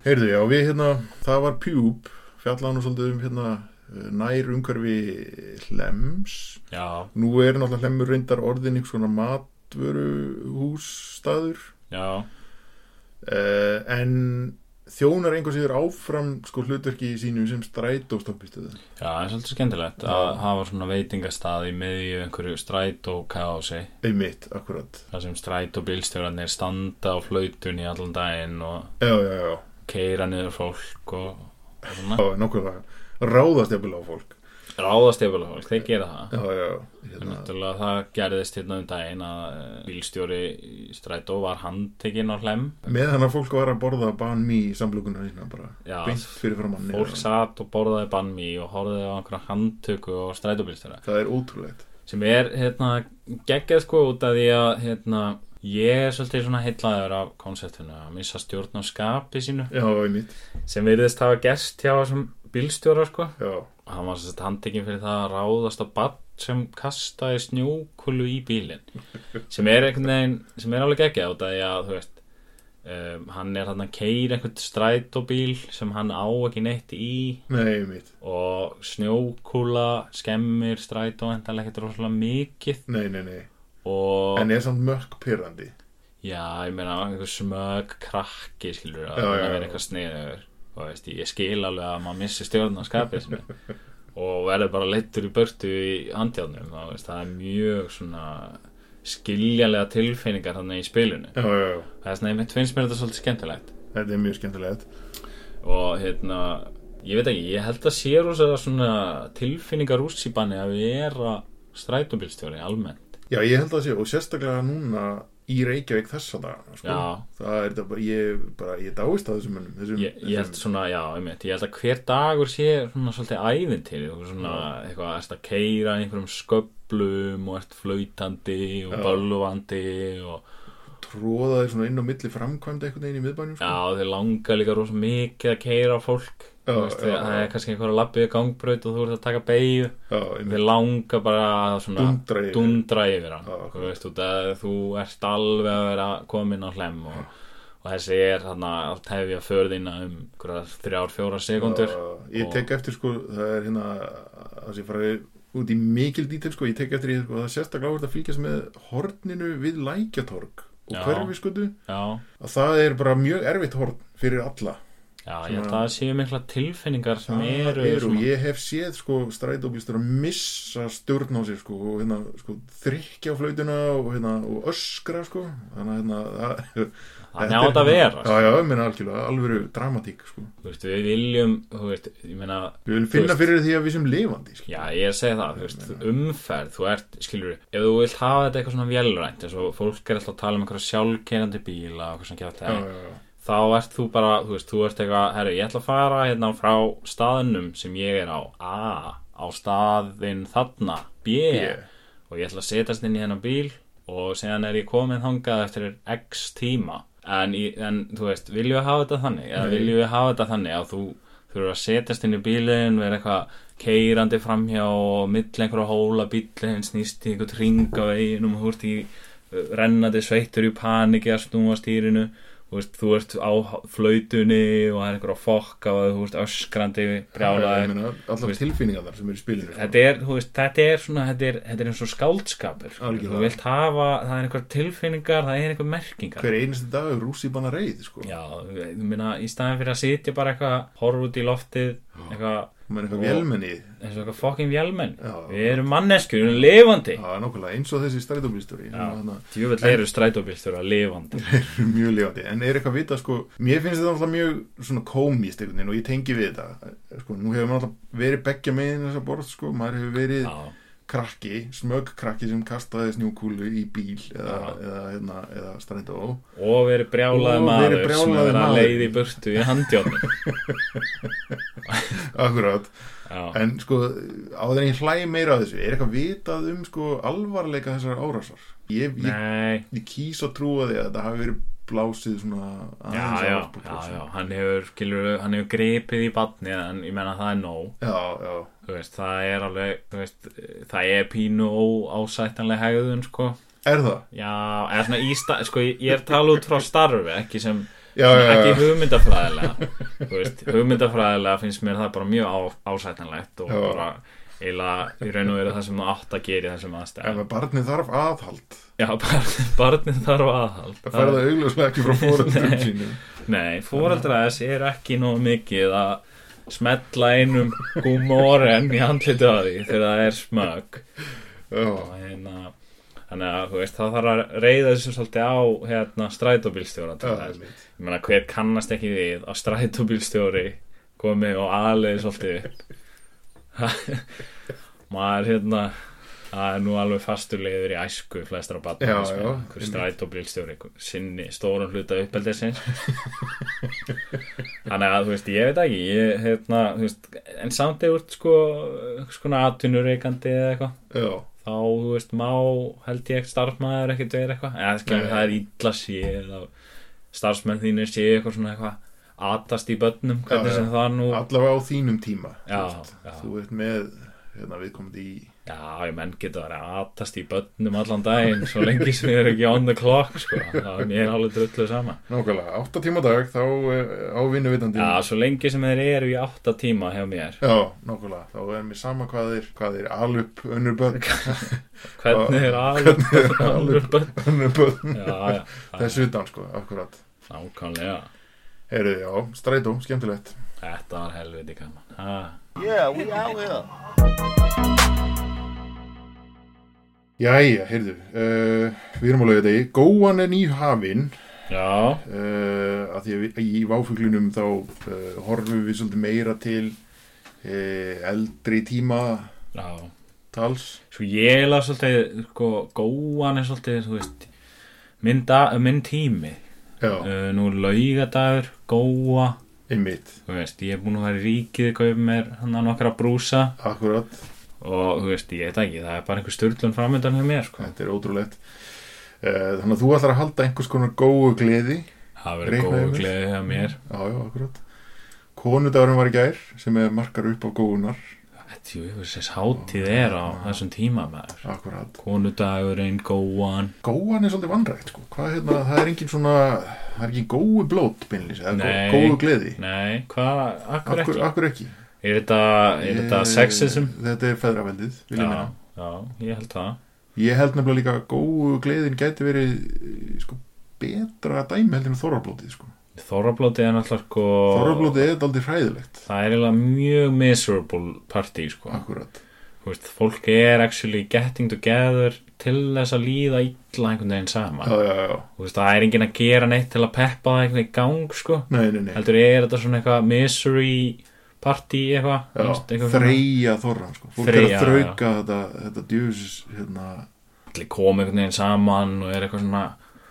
[SPEAKER 1] Heyrðu, já, við hérna, það var Pjúb, fjallaði nú svolítið um hérna eh, nær umhverfi hlems.
[SPEAKER 2] Já,
[SPEAKER 1] Nú er náttúrulega hlemur reyndar orðin einhvers konar matvöruhússtaður.
[SPEAKER 2] já,
[SPEAKER 1] Uh, en þjónar einhvers yfir áfram sko hlutverki í sínu sem strætóstoppistöðu.
[SPEAKER 2] já, það er svolítið skemmtilegt að hafa svona veitingastað í miðju einhverju stræt og kási
[SPEAKER 1] Einmitt, akkurat.
[SPEAKER 2] Það sem stræt og bílstjóranir standa á flautunni allan daginn og
[SPEAKER 1] Já, já, já.
[SPEAKER 2] keira niður fólk og og svona.
[SPEAKER 1] Já, nokkulega. Ráðast jafnvel á fólk.
[SPEAKER 2] ráðast yfir fólk, þeir gera það
[SPEAKER 1] já, já,
[SPEAKER 2] En
[SPEAKER 1] hérna,
[SPEAKER 2] náttúrulega það gerðist hérna um daginn að eh, bílstjóri í strætó var handtekinn á hlem
[SPEAKER 1] með hann að fólk var að borða bann mý í samlokuna sína bara,
[SPEAKER 2] Já,
[SPEAKER 1] beint fyrir fram manni
[SPEAKER 2] fólk satt og borðaði bannmi og horfði á einhverja handtöku og strætóbílstjóra
[SPEAKER 1] það er ótrúlegt
[SPEAKER 2] sem er hérna geggjað sko út af því að hérna ég er svolítið svona heillaður af konseptinu að missa stjórn á skapi sínu
[SPEAKER 1] já, einmitt,
[SPEAKER 2] sem virðist hafa gerst hjá þessum bílstjóra sko
[SPEAKER 1] já,
[SPEAKER 2] og hann var svolítið handtekinn fyrir það að ráðast á barn sem kastaði snjókulu í bílinn sem er einhvern veginn sem er alveg ekki á þetta því að þú veist um, hann er hann að keira einhvern strætóbíl sem hann á ekki neitt í
[SPEAKER 1] nei, einmitt
[SPEAKER 2] og snjókula skemmir strætó en það er ekkert rosalega mikið
[SPEAKER 1] nei, nei, nei,
[SPEAKER 2] og
[SPEAKER 1] en er samt mökk pyrrandi
[SPEAKER 2] já, ég meina einhver smög krakki skilur að
[SPEAKER 1] Já,
[SPEAKER 2] það
[SPEAKER 1] já,
[SPEAKER 2] verður
[SPEAKER 1] já.
[SPEAKER 2] eitthvað sniður og veist, ég skil alveg að maður missi stjórn á skapið sinni og verður bara leittur í börtu í andjánum og veist, það er mjög svona skiljanlega tilfinningar þannig í spilinu
[SPEAKER 1] já, já, já,
[SPEAKER 2] það er svona, einmitt finnst mér þetta svolítið skemmtilegt
[SPEAKER 1] þetta er mjög skemmtilegt
[SPEAKER 2] og hérna ég veit ekki, ég held að sé rosa svona tilfinningar úsíbanni að vera strætóbílstjóri almennt
[SPEAKER 1] Já, ég held að það sé, og sérstaklega núna í Reykjavík þessa dagana, sko.
[SPEAKER 2] Já.
[SPEAKER 1] Það er þetta bara, ég, bara, ég dáist að þessum mönnum, þessum,
[SPEAKER 2] ég, ég held
[SPEAKER 1] þessum-
[SPEAKER 2] svona, já, einmitt, ég held að hver dagur sé svona svolítið ævintýri og svona eitthvað, erst að keira einhverjum sköplum og ert flautandi og
[SPEAKER 1] Já.
[SPEAKER 2] bölvandi og
[SPEAKER 1] tróða þeir svona inn á milli framkvæmda einhvern veginn í miðbænum, sko.
[SPEAKER 2] já, þeir langar líka rosa mikið að keira fólk
[SPEAKER 1] Já,
[SPEAKER 2] Þú veist,
[SPEAKER 1] já, já.
[SPEAKER 2] það er kannski einhverja lappið gangbraut og þú ert að taka beigju
[SPEAKER 1] Já,
[SPEAKER 2] Þið
[SPEAKER 1] einmitt.
[SPEAKER 2] langar bara að svona
[SPEAKER 1] Dúndra yfir.
[SPEAKER 2] dúndra yfir hann
[SPEAKER 1] Já,
[SPEAKER 2] þú, veist, út að þú ert alveg að vera komin á hlem og, og þessi er hann að tefja förðina um einhverjar þrjár, fjórar sekundur
[SPEAKER 1] Já, ég tek eftir, sko, það er hérna, það sé fara út í mikil dítil, sko, ég tek eftir í, sko, það er sérstaklega áhverð að fylgjast með horninu við lækjatorg og
[SPEAKER 2] Já.
[SPEAKER 1] hverfi, skoðu,
[SPEAKER 2] Já,
[SPEAKER 1] að það er bara mjög erfitt horn fyrir alla.
[SPEAKER 2] já ég held að það séu mikla tilfinningar sem
[SPEAKER 1] Það
[SPEAKER 2] eru,
[SPEAKER 1] eru,
[SPEAKER 2] svona,
[SPEAKER 1] ég hef séð sko strætóbílstur að missa stjórn á sér sko og hérna sko þrykja á flautuna og hérna og öskra sko þannig að hérna það-
[SPEAKER 2] Þannig á þetta að vera, sko.
[SPEAKER 1] Já, já, ég meina algjörlega, alvöru dramatík sko
[SPEAKER 2] þú veist, við viljum, þú veist, ég meina
[SPEAKER 1] Við viljum finna
[SPEAKER 2] Þú veist.
[SPEAKER 1] fyrir því að við sem lifandi sko.
[SPEAKER 2] Já, ég segi það, þú veist, umferð, þú ert, skilur, ef þú vilt hafa þetta eitthvað svona vélrænt, eins og fólk er alltaf að tala um einhverja sjálfkerandi bíla og eitthvað sem geta
[SPEAKER 1] Já, já, já,
[SPEAKER 2] þá ert þú bara, þú veist, þú ert eitthvað, herru, ég ætla að fara hérna frá staðnum sem ég er á, A, á staðin þarna, B,
[SPEAKER 1] Yeah.
[SPEAKER 2] og ég ætla að setjast inn í hennar bíl og séðan er ég komin þangað eftir x tíma, en, í- en þú veist, viljum við hafa þetta þannig, eða viljum við hafa þetta þannig að þú þurfur að setjast inn í bílinn, vera eitthvað keirandi framhjá og mill einhverja hóla bílinn, snýst í einhvern ring á veginum og þú ert í uh, rennandi sveittur í paniki að snúa stýrinu þú veist, þú ert á flautunni og það er einhver að fokka og þú ert öskrandi
[SPEAKER 1] Ég
[SPEAKER 2] brjálaður
[SPEAKER 1] meina,
[SPEAKER 2] Þú
[SPEAKER 1] allar
[SPEAKER 2] veist.
[SPEAKER 1] tilfinningar þar sem eru í spilinu sko.
[SPEAKER 2] þetta er, þú veist, þetta er svona þetta er, þetta er eins og skáldskapur sko.
[SPEAKER 1] Algjörlega.
[SPEAKER 2] þú vilt hafa, það er einhver tilfinningar það er einhver merkingar
[SPEAKER 1] Hver einasta dag er rúsi banna reið sko
[SPEAKER 2] já, þú meina, í staðin fyrir að sitja bara eitthvað horf út í loftið eitthvað,
[SPEAKER 1] Man er
[SPEAKER 2] Og-
[SPEAKER 1] eitthvað vélmenni
[SPEAKER 2] eins og eitthvað fokkin vélmenn
[SPEAKER 1] Já.
[SPEAKER 2] við erum manneskur, við erum lifandi
[SPEAKER 1] Já, hérna. nákvæmlega, eins og þessi strætóbílstur
[SPEAKER 2] djúvill eru strætóbílstur að lifandi
[SPEAKER 1] mjög lifandi, en er eitthvað vita sko, mér finnst þetta alltaf mjög svona komist einhvern veginn og ég tengi við þetta sko, nú hefur maður alltaf verið beggja megin þessa borð sko, maður hefur verið
[SPEAKER 2] já,
[SPEAKER 1] krakki, smög krakki sem kastaði snjúkúlu í bíl eða,
[SPEAKER 2] Já.
[SPEAKER 1] eða, eða, eða strændó
[SPEAKER 2] og verið brjálaði
[SPEAKER 1] Og
[SPEAKER 2] maður
[SPEAKER 1] verið
[SPEAKER 2] sem
[SPEAKER 1] brjálaður
[SPEAKER 2] er að
[SPEAKER 1] maður.
[SPEAKER 2] leiði í burtu í handjónum
[SPEAKER 1] akkurát,
[SPEAKER 2] já
[SPEAKER 1] en sko áður en ég hlæ meira að þessu, er eitthvað vitað um sko alvarleika þessar árásar ég, ég,
[SPEAKER 2] Nei,
[SPEAKER 1] ég kýs að trúa því að þetta hafi verið blásið svona
[SPEAKER 2] já, já,
[SPEAKER 1] sko.
[SPEAKER 2] já, já, hann hefur, skilur, hann hefur gripið í batni en ég menna það er nóg
[SPEAKER 1] já, já,
[SPEAKER 2] þú veist, það er alveg, þú veist, það er pínu óásættanlega hegðun, sko
[SPEAKER 1] er það?
[SPEAKER 2] Já, eða svona í stað, sko, ég ég er tala út frá starfi, ekki sem,
[SPEAKER 1] Já, já, já.
[SPEAKER 2] ekki hugmyndafræðilega, þú veist, hugmyndafræðilega finnst mér það bara mjög á, ásættanlegt og
[SPEAKER 1] Já.
[SPEAKER 2] bara eiginlega í raun og veru það sem það átt að gera í þessum
[SPEAKER 1] ef
[SPEAKER 2] aðstæðum.
[SPEAKER 1] að barnið þarf aðhald
[SPEAKER 2] Já, barn, barnið þarf aðhald.
[SPEAKER 1] Það færða augljóslega ekki frá fóreldrum sínu.
[SPEAKER 2] Nei, fóreldra þess er ekki nóg mikið að smetla einum gúmóren í handliti á því þegar það er smög
[SPEAKER 1] Já,
[SPEAKER 2] og hérna þannig að þú veist, það þarf að reyða þessu svolítið á hérna strætóbílstjóra til
[SPEAKER 1] Já,
[SPEAKER 2] þess
[SPEAKER 1] einmitt.
[SPEAKER 2] ég meina hver kannast ekki við að strætóbílstjóri komi og aðleiði svolítið upp maður hérna það er nú alveg fastur leiður í æsku flestra batna
[SPEAKER 1] Já, já,
[SPEAKER 2] hver strætóbílstjóri einhver sinni stóran hluta uppeldisins þannig að þú veist ég veit ekki ég, hérna, þú veist, en samt eða úr sko, skona atvinnureikandi eða eitthvað
[SPEAKER 1] já,
[SPEAKER 2] þá, þú veist, má held ég starfsmæður ekkert verið eitthvað eða skilur
[SPEAKER 1] Nei.
[SPEAKER 2] það er illa séð að starfsmenn þínir séu eitthvað svona eitthvað atast í börnum, hvernig
[SPEAKER 1] Já, já.
[SPEAKER 2] sem það nú
[SPEAKER 1] allavega á þínum tíma
[SPEAKER 2] Já,
[SPEAKER 1] þú, veist,
[SPEAKER 2] já.
[SPEAKER 1] þú ert með hérna, viðkomandi í
[SPEAKER 2] Já, ég menn getur að vera að atast í börnum allan daginn svo lengi sem ég er ekki on the clock sko, það er mér alveg drullu sama
[SPEAKER 1] nákvæmlega, 8 tíma á dag þá eh, á vinnuveitandi
[SPEAKER 2] Já, svo lengi sem þeir eru í átta tíma hjá mér
[SPEAKER 1] já, nákvæmlega, þá er mér sama hvað þeir hvað þeir alup önnur börn
[SPEAKER 2] Hvernig er alveg alveg börn
[SPEAKER 1] önnur börn,
[SPEAKER 2] Já, já, það er
[SPEAKER 1] þessu utan sko, akkurat
[SPEAKER 2] nákvæmlega
[SPEAKER 1] Heyrðu, já, strætó, skemmtilegt
[SPEAKER 2] Þetta var helviti gaman ha.
[SPEAKER 1] Jæja, heyrðu, uh, við erum alveg þetta í Góan er nýhafinn
[SPEAKER 2] Já,
[SPEAKER 1] uh, að því að við, í váfuglinum þá uh, horfum við svolítið meira til uh, eldri tíma
[SPEAKER 2] já
[SPEAKER 1] tals
[SPEAKER 2] Svo Sko, ég er svolítið, sko, góan er svolítið, þú veist, minn, da, minn tími.
[SPEAKER 1] Já,
[SPEAKER 2] Uh, nú er laugadagur, góa,
[SPEAKER 1] einmitt,
[SPEAKER 2] þú veist, ég er búin að fara í ríkið, kaup mér hann að nokkra brúsa
[SPEAKER 1] akkurat
[SPEAKER 2] og, þú veist, ég veit ekki, það er bara einhver styrlun framöndan hjá mér, sko.
[SPEAKER 1] þetta er ótrúlegt uh, þannig að þú ætlar að halda einhvers konar góu gleði
[SPEAKER 2] Það verður
[SPEAKER 1] Reiknaði
[SPEAKER 2] góð
[SPEAKER 1] mér.
[SPEAKER 2] gleði hjá mér.
[SPEAKER 1] já, já, akkurat konudagurinn var í gær sem er markar upp á góunar
[SPEAKER 2] Þetta, jú, ég veist, þess hátíð er á þessum tíma, maður.
[SPEAKER 1] akkurat,
[SPEAKER 2] Konudagurinn, góan,
[SPEAKER 1] góan er svolítið vanrækt sko. hvað hérna, það er engin svona það er engin góu blót beinlýs eða
[SPEAKER 2] Nei.
[SPEAKER 1] góu gleði
[SPEAKER 2] nei, hvað, akkur
[SPEAKER 1] akkur,
[SPEAKER 2] ekki?
[SPEAKER 1] akkur ekki
[SPEAKER 2] Er þetta, er þetta
[SPEAKER 1] Eh,
[SPEAKER 2] sexism?
[SPEAKER 1] þetta er feðraveldið, vil ég meina
[SPEAKER 2] Já, já, ég held það.
[SPEAKER 1] Ég held nefnilega líka að góðu gleðin gæti verið eh, sko, betra dæmi heldur en þorrablótið sko.
[SPEAKER 2] Þorrablótið er náttúrulega sko
[SPEAKER 1] Þorrablótið er aldrei hræðilegt
[SPEAKER 2] Það er eiginlega mjög miserable party sko.
[SPEAKER 1] Akkurat,
[SPEAKER 2] Þú veist, fólk er actually getting together til þess að líða illa einhvern veginn saman
[SPEAKER 1] já, já, já
[SPEAKER 2] Þú veist, það er enginn að gera neitt til að peppa það einhvern veginn í gang sko.
[SPEAKER 1] Nei, nei, nei,
[SPEAKER 2] heldur er þetta svona eitthvað misery party eitthvað, þú
[SPEAKER 1] já,
[SPEAKER 2] veist, eitthvað svona-
[SPEAKER 1] þreja þorran sko. Fólk er
[SPEAKER 2] Þreyja,
[SPEAKER 1] að þrauka þetta, þetta djöfis hérna,
[SPEAKER 2] allir koma einhvern veginn saman og er eitthvað svona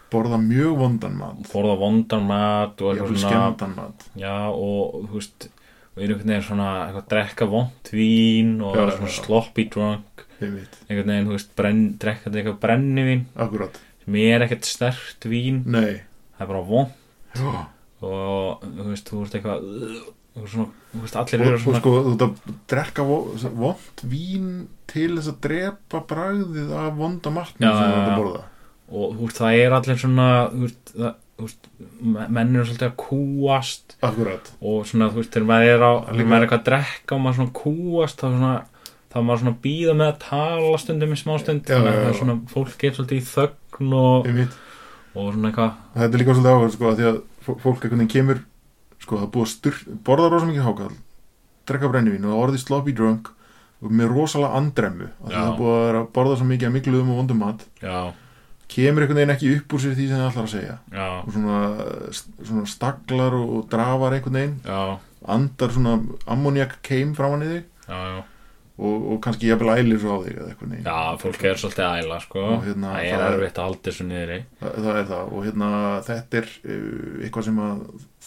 [SPEAKER 1] borða mjög vondan mat
[SPEAKER 2] forða vondan mat og
[SPEAKER 1] Ég
[SPEAKER 2] eitthvað
[SPEAKER 1] vil
[SPEAKER 2] svona
[SPEAKER 1] skemmtan mat
[SPEAKER 2] Já, og þú veist, við erum einhvern veginn svona eitthvað að drekka vont vín og
[SPEAKER 1] Já,
[SPEAKER 2] vera
[SPEAKER 1] já,
[SPEAKER 2] svona
[SPEAKER 1] já.
[SPEAKER 2] sloppy drunk,
[SPEAKER 1] Einmitt,
[SPEAKER 2] einhvern veginn, þú veist, brenn, drekka þetta eitthvað brennivín,
[SPEAKER 1] akkurat,
[SPEAKER 2] sem er ekkert sterkt vín,
[SPEAKER 1] nei
[SPEAKER 2] það er bara vont
[SPEAKER 1] Já,
[SPEAKER 2] og þú veist, þú veist eitthvað, þú veist, svona, þú veist, allir
[SPEAKER 1] og,
[SPEAKER 2] eru
[SPEAKER 1] og
[SPEAKER 2] svona,
[SPEAKER 1] sko, þú ert að drekka vo- vond vín til þess að drepa bragðið af vonda matnum
[SPEAKER 2] Já,
[SPEAKER 1] sem þú
[SPEAKER 2] já,
[SPEAKER 1] ert
[SPEAKER 2] já.
[SPEAKER 1] að borða
[SPEAKER 2] og þú veist, það er allir svona, þú veist, það, þú veist, me- menn eru svolítið að kúast
[SPEAKER 1] Akkurat,
[SPEAKER 2] og svona, þú veist, þegar maður er á,
[SPEAKER 1] Líka-
[SPEAKER 2] þegar maður er eitthvað að drekka og maður svona kúast, þá svona, þá er maður svona að býða með að tala stundum í smástund,
[SPEAKER 1] Já,
[SPEAKER 2] þannig að
[SPEAKER 1] já, já.
[SPEAKER 2] það er svona, fólk er svolítið í þögn og,
[SPEAKER 1] einmitt
[SPEAKER 2] og svona eitthvað,
[SPEAKER 1] þetta er líka svolítið áhuga sko, að því að fó- fólk einhvern veginn kemur sko, það er búið að styr, borða rosa mikið hákall drekka brennivín og það er orðið sloppy drunk og með rosalega andremmu að því
[SPEAKER 2] Já.
[SPEAKER 1] það er búið að vera að borða svo mikið að mikluðum og vondum mat
[SPEAKER 2] já,
[SPEAKER 1] kemur einhvern veginn ekki upp úr sér því sem það ætlar að segja
[SPEAKER 2] já,
[SPEAKER 1] og svona, svona staglar og, og drafar einhvern veginn
[SPEAKER 2] já,
[SPEAKER 1] andar svona ammoniak keim framan í þig
[SPEAKER 2] já, já.
[SPEAKER 1] og, og kannski jafnvel ælir svo á þig eða einhvern veginn
[SPEAKER 2] Já, fólk er svolítið að æla, sko.
[SPEAKER 1] Og hérna,
[SPEAKER 2] það er
[SPEAKER 1] það er-
[SPEAKER 2] erfitt að halda þessu niðri.
[SPEAKER 1] Þa, það er það og hérna þetta er uh, eitthvað sem að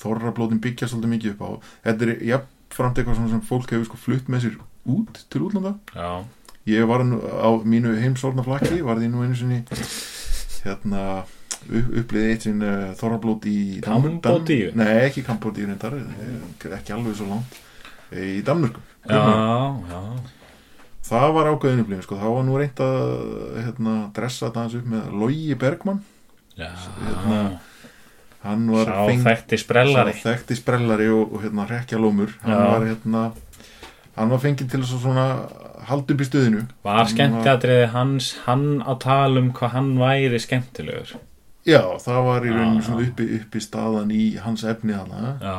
[SPEAKER 1] þorrablótin byggja svolítið mikið upp á þetta er jafnframt eitthvað svona sem fólk hefur sko flutt með sér út til útlanda
[SPEAKER 2] Já,
[SPEAKER 1] ég var nú á mínu heimsorna flakki var því nú einu sinni hérna upp, upplið eitt sinn uh, þorrablót í Dam- Dam-
[SPEAKER 2] Kambódíu?
[SPEAKER 1] Nei, ekki Kambodíu reyndar, eh, ekki alveg svo langt eh, í Danmörku
[SPEAKER 2] já, já,
[SPEAKER 1] það var ákveðin upplifin sko, það var nú reynd að hérna, dressa þetta hans upp með Logi Bergmann
[SPEAKER 2] já.
[SPEAKER 1] Hérna, hann var
[SPEAKER 2] Sá
[SPEAKER 1] feng-
[SPEAKER 2] þekkti sprellari.
[SPEAKER 1] Sá þekkti sprellari og, og hérna rekja lómur hann
[SPEAKER 2] Já.
[SPEAKER 1] var hérna hann var fengið til þess að svona halda upp í stöðinu
[SPEAKER 2] Var skemmtiadriði hans, hann að tala um hvað hann væri skemmtilegur.
[SPEAKER 1] já, það var í rauninu
[SPEAKER 2] Já.
[SPEAKER 1] svona uppi, uppi staðan í hans efni hana
[SPEAKER 2] Já,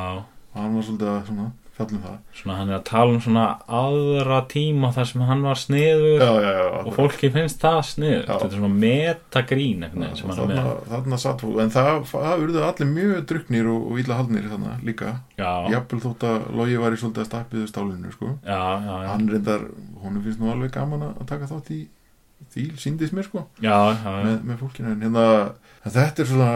[SPEAKER 1] hann var svolítið að svona fjalla um það
[SPEAKER 2] Svona hann er að tala um svona aðra tíma þar sem hann var sniður
[SPEAKER 1] já, já, já,
[SPEAKER 2] og fólki finnst það sniður.
[SPEAKER 1] Já.
[SPEAKER 2] Þetta er svona metagrín einhvern veginn sem hann er
[SPEAKER 1] þarna,
[SPEAKER 2] með.
[SPEAKER 1] þarna satt hún en það, það urðu allir mjög druknir og, og illa haldnir þarna líka
[SPEAKER 2] Já, já,
[SPEAKER 1] jafnvel þótt að Logi var í svolítið að stappið stálinu sko
[SPEAKER 2] já, já,
[SPEAKER 1] hann reyndar, honum finnst nú alveg gaman að að taka þátt í því síndist mér sko
[SPEAKER 2] já, já, já,
[SPEAKER 1] með, með fólkinu en hérna, en þetta er svona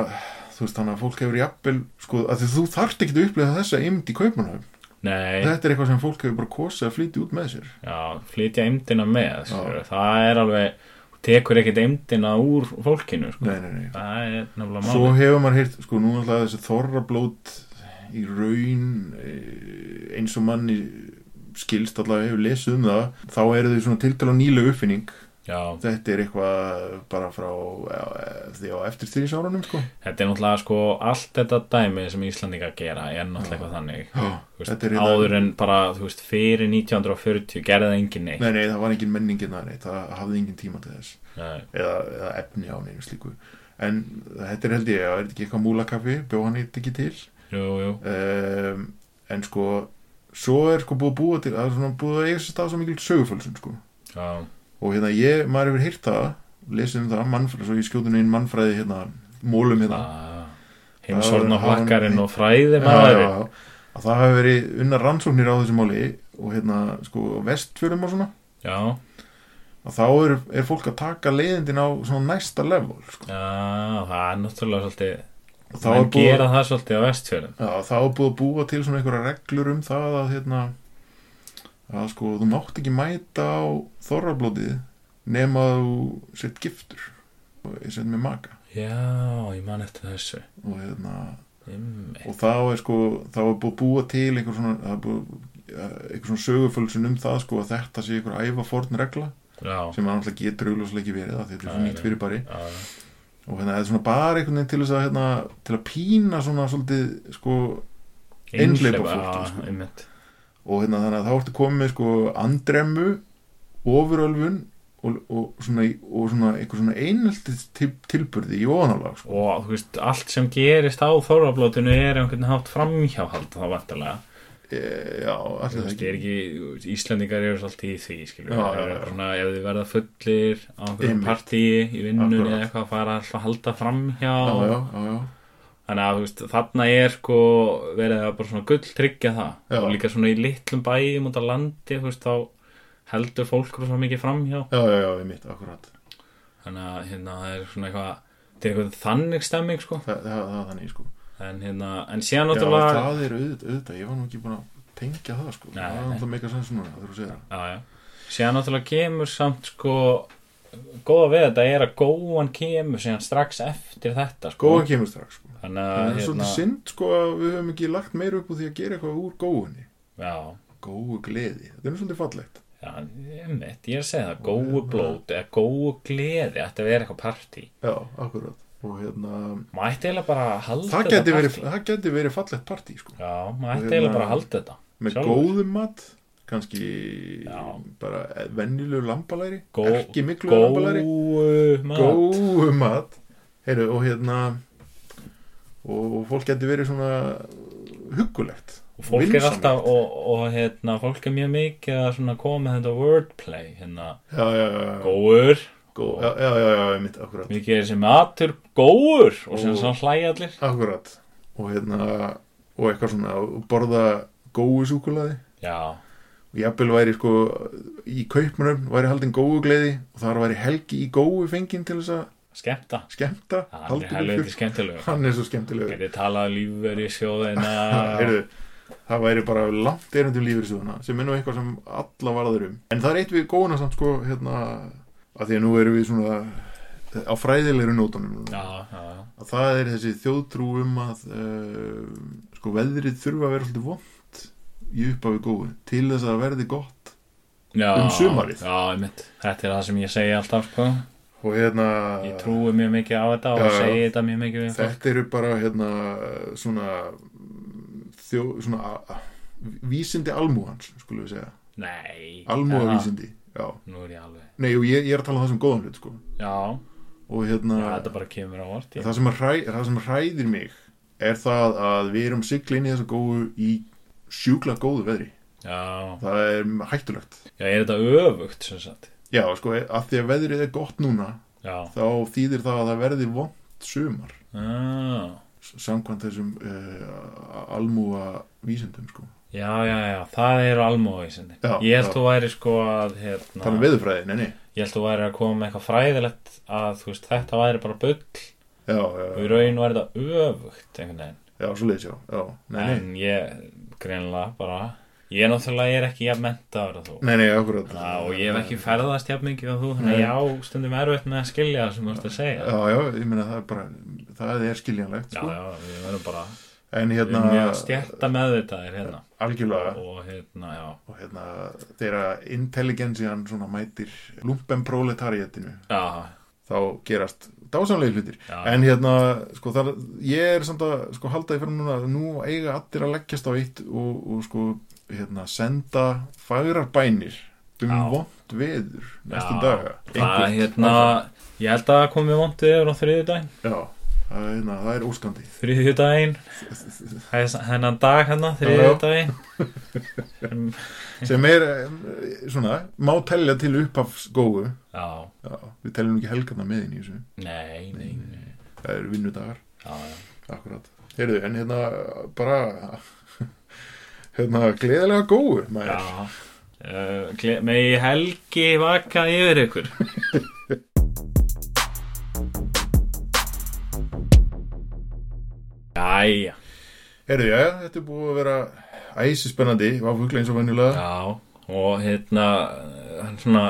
[SPEAKER 1] þú veist þannig að fólk hefur jafnvel sko, að því þú þarft ekki að upplega þessa ymt í kaupunum
[SPEAKER 2] nei,
[SPEAKER 1] þetta er eitthvað sem fólk hefur bara kosið að flytja út með sér
[SPEAKER 2] já, flytja eimdina með, skilur, það er alveg, þú tekur ekkert eimdina úr fólkinu, sko.
[SPEAKER 1] nei, nei, nei.
[SPEAKER 2] Það er nefnilega
[SPEAKER 1] svo
[SPEAKER 2] máli.
[SPEAKER 1] hefur maður heyrt sko, nú er alltaf þessi þorrablót í raun eh, eins og manni skilst allavega hefur lesið um það þá eru þau svona tiltala nýlega uppfinning
[SPEAKER 2] Já,
[SPEAKER 1] þetta er eitthvað bara frá eh, því á eftir styrjusárunum sko.
[SPEAKER 2] þetta er náttúrulega sko allt þetta dæmi sem Íslandingar gera er náttúrulega eitthvað þannig.
[SPEAKER 1] Já,
[SPEAKER 2] Þú veist,
[SPEAKER 1] þetta er hérna-
[SPEAKER 2] áður en bara, þú veist, fyrir 1940 gerði það enginn neitt.
[SPEAKER 1] nei, nei, það var engin menningin það, nei, það hafði engin tíma til þess
[SPEAKER 2] Nei.
[SPEAKER 1] eða, eða efni á neinu slíku en þetta er held ég, er þetta ekki eitthvað múlakaffi bjó hann eitthvað ekki til
[SPEAKER 2] Jú, jú,
[SPEAKER 1] um, en sko svo er sko búið að búa til það er svona búið að eiga sér stað svo mikil sögufölsun sko.
[SPEAKER 2] já,
[SPEAKER 1] og hérna ég, maður hefur heyrt það lesið um það, mannfræði, svo ég skjótun inn mannfræði hérna, mólum hérna
[SPEAKER 2] já. Heimsorna
[SPEAKER 1] Það var-
[SPEAKER 2] hlakkarinn og fræði
[SPEAKER 1] já,
[SPEAKER 2] maðurinn.
[SPEAKER 1] já, að það hefur verið unna rannsóknir á þessu máli og hérna sko vestfjörum og svona
[SPEAKER 2] Já,
[SPEAKER 1] að þá er, er fólk að taka leiðindin á svona næsta level sko.
[SPEAKER 2] já, það er náttúrulega svolítið,
[SPEAKER 1] Og þá
[SPEAKER 2] það
[SPEAKER 1] er búið,
[SPEAKER 2] gera það svolítið á vestfjörðum.
[SPEAKER 1] já, þá er búið að búa til svona einhverja reglur um það að hérna að sko þú mátt ekki mæta á þorrablótið nema þú sett giftur og ég sett með maka
[SPEAKER 2] Já, ég man eftir þessu.
[SPEAKER 1] og hérna
[SPEAKER 2] Einmitt.
[SPEAKER 1] og þá er sko þá er búið að búa til einhver svona, það er búið, eh, einhver svona sögufölsun um það sko að þetta sé einhver æfa forn regla
[SPEAKER 2] Já,
[SPEAKER 1] sem hann alltaf getur augljóslega ekki verið af því þetta er
[SPEAKER 2] Nei,
[SPEAKER 1] svona nýtt
[SPEAKER 2] nei.
[SPEAKER 1] fyrir bari
[SPEAKER 2] já, já.
[SPEAKER 1] og hérna, það er svona bara einhvern veginn til þess að hérna, til að pína svona svolítið sko, Einhleypa fólki,
[SPEAKER 2] já,
[SPEAKER 1] sko.
[SPEAKER 2] einmitt.
[SPEAKER 1] og hérna þannig að þá ertu komið með sko andremmu, ofurölfun og, og svona, og svona einhver svona einheltis til, tilburði í ofanálag sko.
[SPEAKER 2] og þú veist, allt sem gerist á þorrablótinu er einhvern hátt framhjáhald þá vantarlega,
[SPEAKER 1] e, já,
[SPEAKER 2] þú
[SPEAKER 1] allir það
[SPEAKER 2] veist,
[SPEAKER 1] ekki
[SPEAKER 2] er ekki þú veist, Íslendingar eru svolítið í því, skilur
[SPEAKER 1] Já, já,
[SPEAKER 2] Eru
[SPEAKER 1] já.
[SPEAKER 2] svona, ef þið verða fullir á einhverjum
[SPEAKER 1] Einmitt.
[SPEAKER 2] partíi í vinnunni
[SPEAKER 1] Akkurat.
[SPEAKER 2] eða eitthvað að fara alltaf að halda framhjá
[SPEAKER 1] já, já, já, já,
[SPEAKER 2] þannig að þú veist, þarna er sko verið að bara svona gull tryggja það
[SPEAKER 1] Já.
[SPEAKER 2] og líka svona í litlum bæjum út á landi, þú veist, þá heldur fólk rosa mikið framhjá
[SPEAKER 1] já, já, já, ég mitt, akkurat
[SPEAKER 2] þannig að hérna, það er svona eitthvað þetta er eitthvað þannig stemming sko
[SPEAKER 1] það, það, það er þannig sko
[SPEAKER 2] en, hérna, en síðan
[SPEAKER 1] já,
[SPEAKER 2] náttúrulega
[SPEAKER 1] það er auðvitað, auðvitað, ég var nú ekki búin að tengja það sko,
[SPEAKER 2] Nei,
[SPEAKER 1] það er
[SPEAKER 2] nei.
[SPEAKER 1] alltaf meika sens núna, það þurfum að segja það
[SPEAKER 2] Já, já. Síðan náttúrulega kemur samt sko góða við þetta er að góðan kemur síðan strax eftir þetta sko.
[SPEAKER 1] góðan kemur strax sko
[SPEAKER 2] Þannig
[SPEAKER 1] það
[SPEAKER 2] að
[SPEAKER 1] er
[SPEAKER 2] hérna,
[SPEAKER 1] svolítið synd sko að við höfum ekki lagt meira upp úr því að gera eitthvað úr góðunni
[SPEAKER 2] já,
[SPEAKER 1] góðu gleði, þetta er nú svolítið fallegt
[SPEAKER 2] já, einmitt, ég er að segja það góðu blót eða góðu gleði ætti að vera eitthvað partí.
[SPEAKER 1] já, akkurat og hérna,
[SPEAKER 2] Mætti eiginlega bara að halda
[SPEAKER 1] það
[SPEAKER 2] þetta
[SPEAKER 1] geti verið,
[SPEAKER 2] partí.
[SPEAKER 1] það geti verið fallegt partí sko.
[SPEAKER 2] Já, mætti
[SPEAKER 1] hérna,
[SPEAKER 2] eiginlega bara að halda þetta.
[SPEAKER 1] með
[SPEAKER 2] Sjálfur.
[SPEAKER 1] góðum mat kannski
[SPEAKER 2] Já.
[SPEAKER 1] bara venjulegu lambalæri
[SPEAKER 2] Gó-
[SPEAKER 1] ekki miklu lambalæri
[SPEAKER 2] Góðu mat.
[SPEAKER 1] góðu mat Heru, og hérna og fólk geti verið svona huggulegt
[SPEAKER 2] Og fólk er
[SPEAKER 1] vinsamlegt.
[SPEAKER 2] alltaf, og, og hérna, fólk er mjög mikið að svona koma með þetta wordplay, hérna,
[SPEAKER 1] já, já, já, já.
[SPEAKER 2] góður,
[SPEAKER 1] Gó- já, já, já, já, mitt, akkurat
[SPEAKER 2] mikið er þessi matur góður og sem
[SPEAKER 1] Góður.
[SPEAKER 2] svona hlæja allir.
[SPEAKER 1] akkurat og hérna, og eitthvað svona og borða góðu súkulaði
[SPEAKER 2] Já,
[SPEAKER 1] og jafnvel væri sko í kaupmunum væri haldin góðu gleði og þar væri helgi í góðu fengin til þess að
[SPEAKER 2] skemmta
[SPEAKER 1] skemmta
[SPEAKER 2] Hann
[SPEAKER 1] halda
[SPEAKER 2] er
[SPEAKER 1] ykkur
[SPEAKER 2] helviti
[SPEAKER 1] fjör.
[SPEAKER 2] skemmtilegur
[SPEAKER 1] hann er svo skemmtilegur
[SPEAKER 2] Gæti talað um lífveri sjóðina
[SPEAKER 1] Heyrðu, það væri bara langt erindum lífur svona, sem er nú eitthvað sem alla varður um en það er eitt við góðuna samt sko hérna, að því að nú erum við svona á fræðilegri nótunum núna.
[SPEAKER 2] Já, já, já
[SPEAKER 1] að það er þessi þjóðtrú um að uh, sko veðrið þurfa að vera svolítið vond í upphafi góðu til þess að það verði gott
[SPEAKER 2] Já,
[SPEAKER 1] Um sumarið.
[SPEAKER 2] Já, einmitt Þetta er það sem ég segi alltaf, sko
[SPEAKER 1] og hérna
[SPEAKER 2] Ég trúi mjög mikið á þetta
[SPEAKER 1] Já,
[SPEAKER 2] og
[SPEAKER 1] já.
[SPEAKER 2] segi þetta mjög mikið við fólk
[SPEAKER 1] Þetta eru bara hérna svona mm, þjó, svona a- a- vísindi almúhans, skulum við segja
[SPEAKER 2] Nei
[SPEAKER 1] almúha
[SPEAKER 2] já,
[SPEAKER 1] vísindi, já
[SPEAKER 2] Nú er ég alveg
[SPEAKER 1] Nei, og ég, ég er að tala um það sem góðan hlut, sko
[SPEAKER 2] Já,
[SPEAKER 1] og hérna,
[SPEAKER 2] já þetta bara kemur á orti
[SPEAKER 1] það, sem að hræ, það sem hræðir mig er það að við erum siglinni þess að góðu í sjúkla góðu veðri
[SPEAKER 2] Já,
[SPEAKER 1] það er hættulegt
[SPEAKER 2] já, er þetta öfugt sem sagt
[SPEAKER 1] já, sko, að því að veðrið er gott núna
[SPEAKER 2] Já,
[SPEAKER 1] þá þýðir það að það verði vond sumar
[SPEAKER 2] ah,
[SPEAKER 1] samkvæmt þessum uh, almúa vísindum sko.
[SPEAKER 2] já, já, já, það eru almói sinni
[SPEAKER 1] Já,
[SPEAKER 2] Ég held
[SPEAKER 1] já.
[SPEAKER 2] þú væri sko að hérna,
[SPEAKER 1] þannig um veðurfræði, nei, nei
[SPEAKER 2] Ég held þú væri að koma með eitthvað fræðilegt að þú veist, þetta væri bara bull
[SPEAKER 1] já,
[SPEAKER 2] og í
[SPEAKER 1] já,
[SPEAKER 2] raun var þetta öfugt einhvern veginn
[SPEAKER 1] já, svo leiðis, já, já nei, nei,
[SPEAKER 2] en ég greinilega bara ég náttúrulega er ekki jafn mentaður að þú
[SPEAKER 1] nei, nei, akkurat
[SPEAKER 2] Ná, og ég hef ekki ferðast jafn mikið að þú þannig
[SPEAKER 1] Nei.
[SPEAKER 2] að já, stundum erfitt með að skilja það sem þú ert að segja
[SPEAKER 1] já, já, ég meina það er bara það er skiljanlegt,
[SPEAKER 2] já,
[SPEAKER 1] sko
[SPEAKER 2] já, við verðum bara
[SPEAKER 1] en
[SPEAKER 2] við erum mjög
[SPEAKER 1] hérna,
[SPEAKER 2] stjætta meðvitaðir hérna
[SPEAKER 1] algjörlega
[SPEAKER 2] og hérna, já,
[SPEAKER 1] og hérna, þeirra intelligensian svona mætir lumpenproletariatinu
[SPEAKER 2] já
[SPEAKER 1] þá gerast dásamlega hlutir
[SPEAKER 2] Já.
[SPEAKER 1] en hérna, sko, þar, ég er samt að sko, halda í fyrir núna, að nú eiga allir að leggjast á eitt og, og sko, hérna, senda fagrar bænir um
[SPEAKER 2] Já.
[SPEAKER 1] vond veður næstu
[SPEAKER 2] Já.
[SPEAKER 1] daga
[SPEAKER 2] það
[SPEAKER 1] Einhvern-
[SPEAKER 2] hérna ég held að komi vondið yfir á þriðjudaginn
[SPEAKER 1] Já, það, er, hérna, það er óskandi
[SPEAKER 2] þriðjudaginn Það er s- hennan dag hérna, þriðjudaginn
[SPEAKER 1] sem er, eh, svona, má telja til upphafsgóðu
[SPEAKER 2] já,
[SPEAKER 1] Já, við teljum nú ekki helgarna með inn í þessu
[SPEAKER 2] nei, nei, nei.
[SPEAKER 1] það eru vinnudagar
[SPEAKER 2] Já, já.
[SPEAKER 1] Akkurat. Heyrðu, en hérna bara hérna gleðilega góðu maður.
[SPEAKER 2] Já, uh, gle- megi helgi vaka yfir ykkur Jæja,
[SPEAKER 1] Heyrðu, já, þetta er búið að vera æsispennandi, váfugla eins og venjulega.
[SPEAKER 2] já og hérna eh, hann svona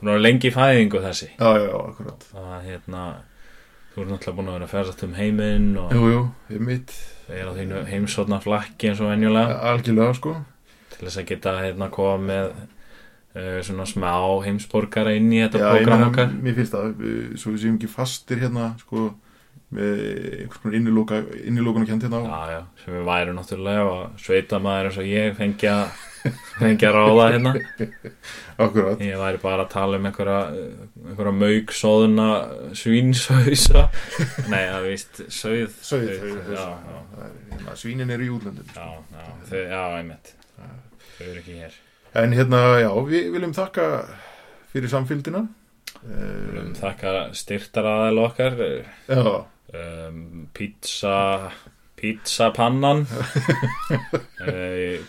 [SPEAKER 2] búin að vera lengi í fæðingu þessi
[SPEAKER 1] Já, já, já, akkurat.
[SPEAKER 2] það hérna þú ert náttúrulega búin að vera að ferðast um heiminn og
[SPEAKER 1] Jú, jú, ég mitt
[SPEAKER 2] er á þínu heimsotna flakki eins og venjulega
[SPEAKER 1] algjörlega, sko.
[SPEAKER 2] til þess að geta hérna koma með uh, svona smá heimsborgara inn í þetta
[SPEAKER 1] Já, ég
[SPEAKER 2] prógram
[SPEAKER 1] meina,
[SPEAKER 2] okkar
[SPEAKER 1] mér finnst það, við- svo við séum ekki fastir hérna, sko, með einhvers konar innilóka, innilókan að kjönda hérna á.
[SPEAKER 2] Já, já, sem við væri náttúrulega og sveita maður eins og ég fengi að fengi að ráða hérna
[SPEAKER 1] Akkurat.
[SPEAKER 2] ég væri bara að tala um einhverja einhverja mauk sóðuna svínsauðsa nei, það er víst sauð
[SPEAKER 1] Sauð,
[SPEAKER 2] já, já,
[SPEAKER 1] það er, hérna, svínin eru í útlöndum.
[SPEAKER 2] já, já, þau, já, einmitt þau eru ekki hér
[SPEAKER 1] En hérna, já, við viljum þakka fyrir samfylgdina. Uh,
[SPEAKER 2] um, þakka styrtaraðal okkar
[SPEAKER 1] já,
[SPEAKER 2] um, pizza pizzapannan uh,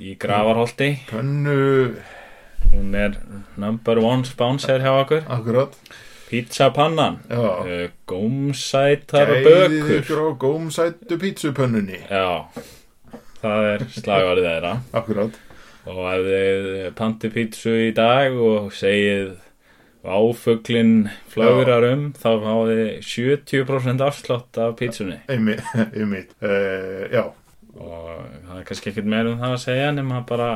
[SPEAKER 2] í gravarholti
[SPEAKER 1] pönnu,
[SPEAKER 2] hún er number one sponsor hjá okkur
[SPEAKER 1] akkurat.
[SPEAKER 2] Pizzapannan
[SPEAKER 1] Já.
[SPEAKER 2] uh, Gómsætar
[SPEAKER 1] Gæðið
[SPEAKER 2] bökur
[SPEAKER 1] ykkur á gómsættu pítsupönnunni
[SPEAKER 2] Já Það er slagvarðið þeirra
[SPEAKER 1] Akkurat
[SPEAKER 2] Og ef þið panti pítsu í dag og segið áfuglinn flögrar um þá fáið þið 70% afslátt af pítsunni
[SPEAKER 1] Einmitt, einmitt. Uh, Já,
[SPEAKER 2] og það er kannski ekkert meir um það að segja nema bara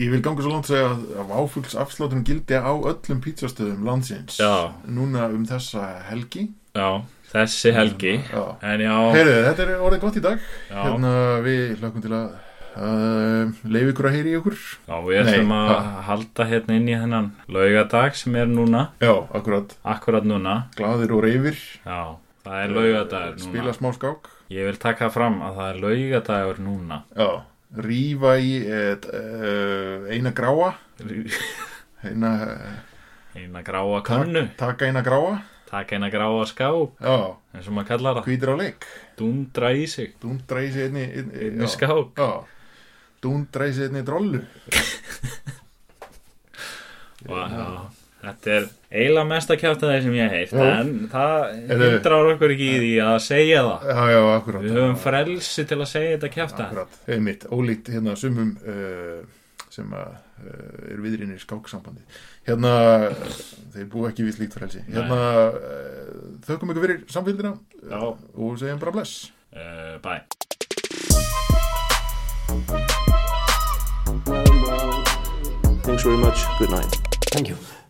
[SPEAKER 1] ég vil ganga svo langt að segja að- að áfuglsafslátturinn gildi á öllum pítsastöðum landsins
[SPEAKER 2] Já.
[SPEAKER 1] Núna um þessa helgi
[SPEAKER 2] já, þessi helgi
[SPEAKER 1] Já.
[SPEAKER 2] en já,
[SPEAKER 1] Heyrðu, þetta er orðið gott í dag
[SPEAKER 2] já,
[SPEAKER 1] Hérna við hlökkum til að uh, leiði ykkur að heyri í ykkur
[SPEAKER 2] já, við ætlum
[SPEAKER 1] Nei,
[SPEAKER 2] að
[SPEAKER 1] ha.
[SPEAKER 2] halda hérna inn í hennan laugadag sem er núna,
[SPEAKER 1] Já, akkurat,
[SPEAKER 2] akkurat núna
[SPEAKER 1] glaðir og reyfir
[SPEAKER 2] Já, það er laugadagur núna.
[SPEAKER 1] Spila smá skák
[SPEAKER 2] Ég vil taka fram að það er laugadagur núna.
[SPEAKER 1] Já, rífa í et, uh, eina gráa eina, eh,
[SPEAKER 2] Eina gráa kannu,
[SPEAKER 1] Taka eina gráa
[SPEAKER 2] taka eina gráa skák,
[SPEAKER 1] Já,
[SPEAKER 2] eins og maður kallar það.
[SPEAKER 1] hvítir á leik
[SPEAKER 2] Dundra í sig,
[SPEAKER 1] Dúndra í sig einni, einni,
[SPEAKER 2] einu
[SPEAKER 1] já,
[SPEAKER 2] skák.
[SPEAKER 1] já. Dúndra í sig einni drollu
[SPEAKER 2] Og, já, þetta er eiginlega mesta kjátaði sem ég heilt,
[SPEAKER 1] Já.
[SPEAKER 2] en það
[SPEAKER 1] Eru-
[SPEAKER 2] hindrar okkur ekki í því að segja það.
[SPEAKER 1] Já, já, akkurát
[SPEAKER 2] Við höfum frelsi til að segja þetta kjátaði.
[SPEAKER 1] Akkurát, einmitt, ólíkt hérna sumum uh, sem að uh, er viðrinni í skáksambandi Hérna, þeir búa ekki við slíkt frelsi Hérna, uh, þökkum ykkur fyrir samfélgina
[SPEAKER 2] Já.
[SPEAKER 1] og segjum bara bless
[SPEAKER 2] Uh, bye.
[SPEAKER 4] Thanks very much. Good night.
[SPEAKER 3] Thank you.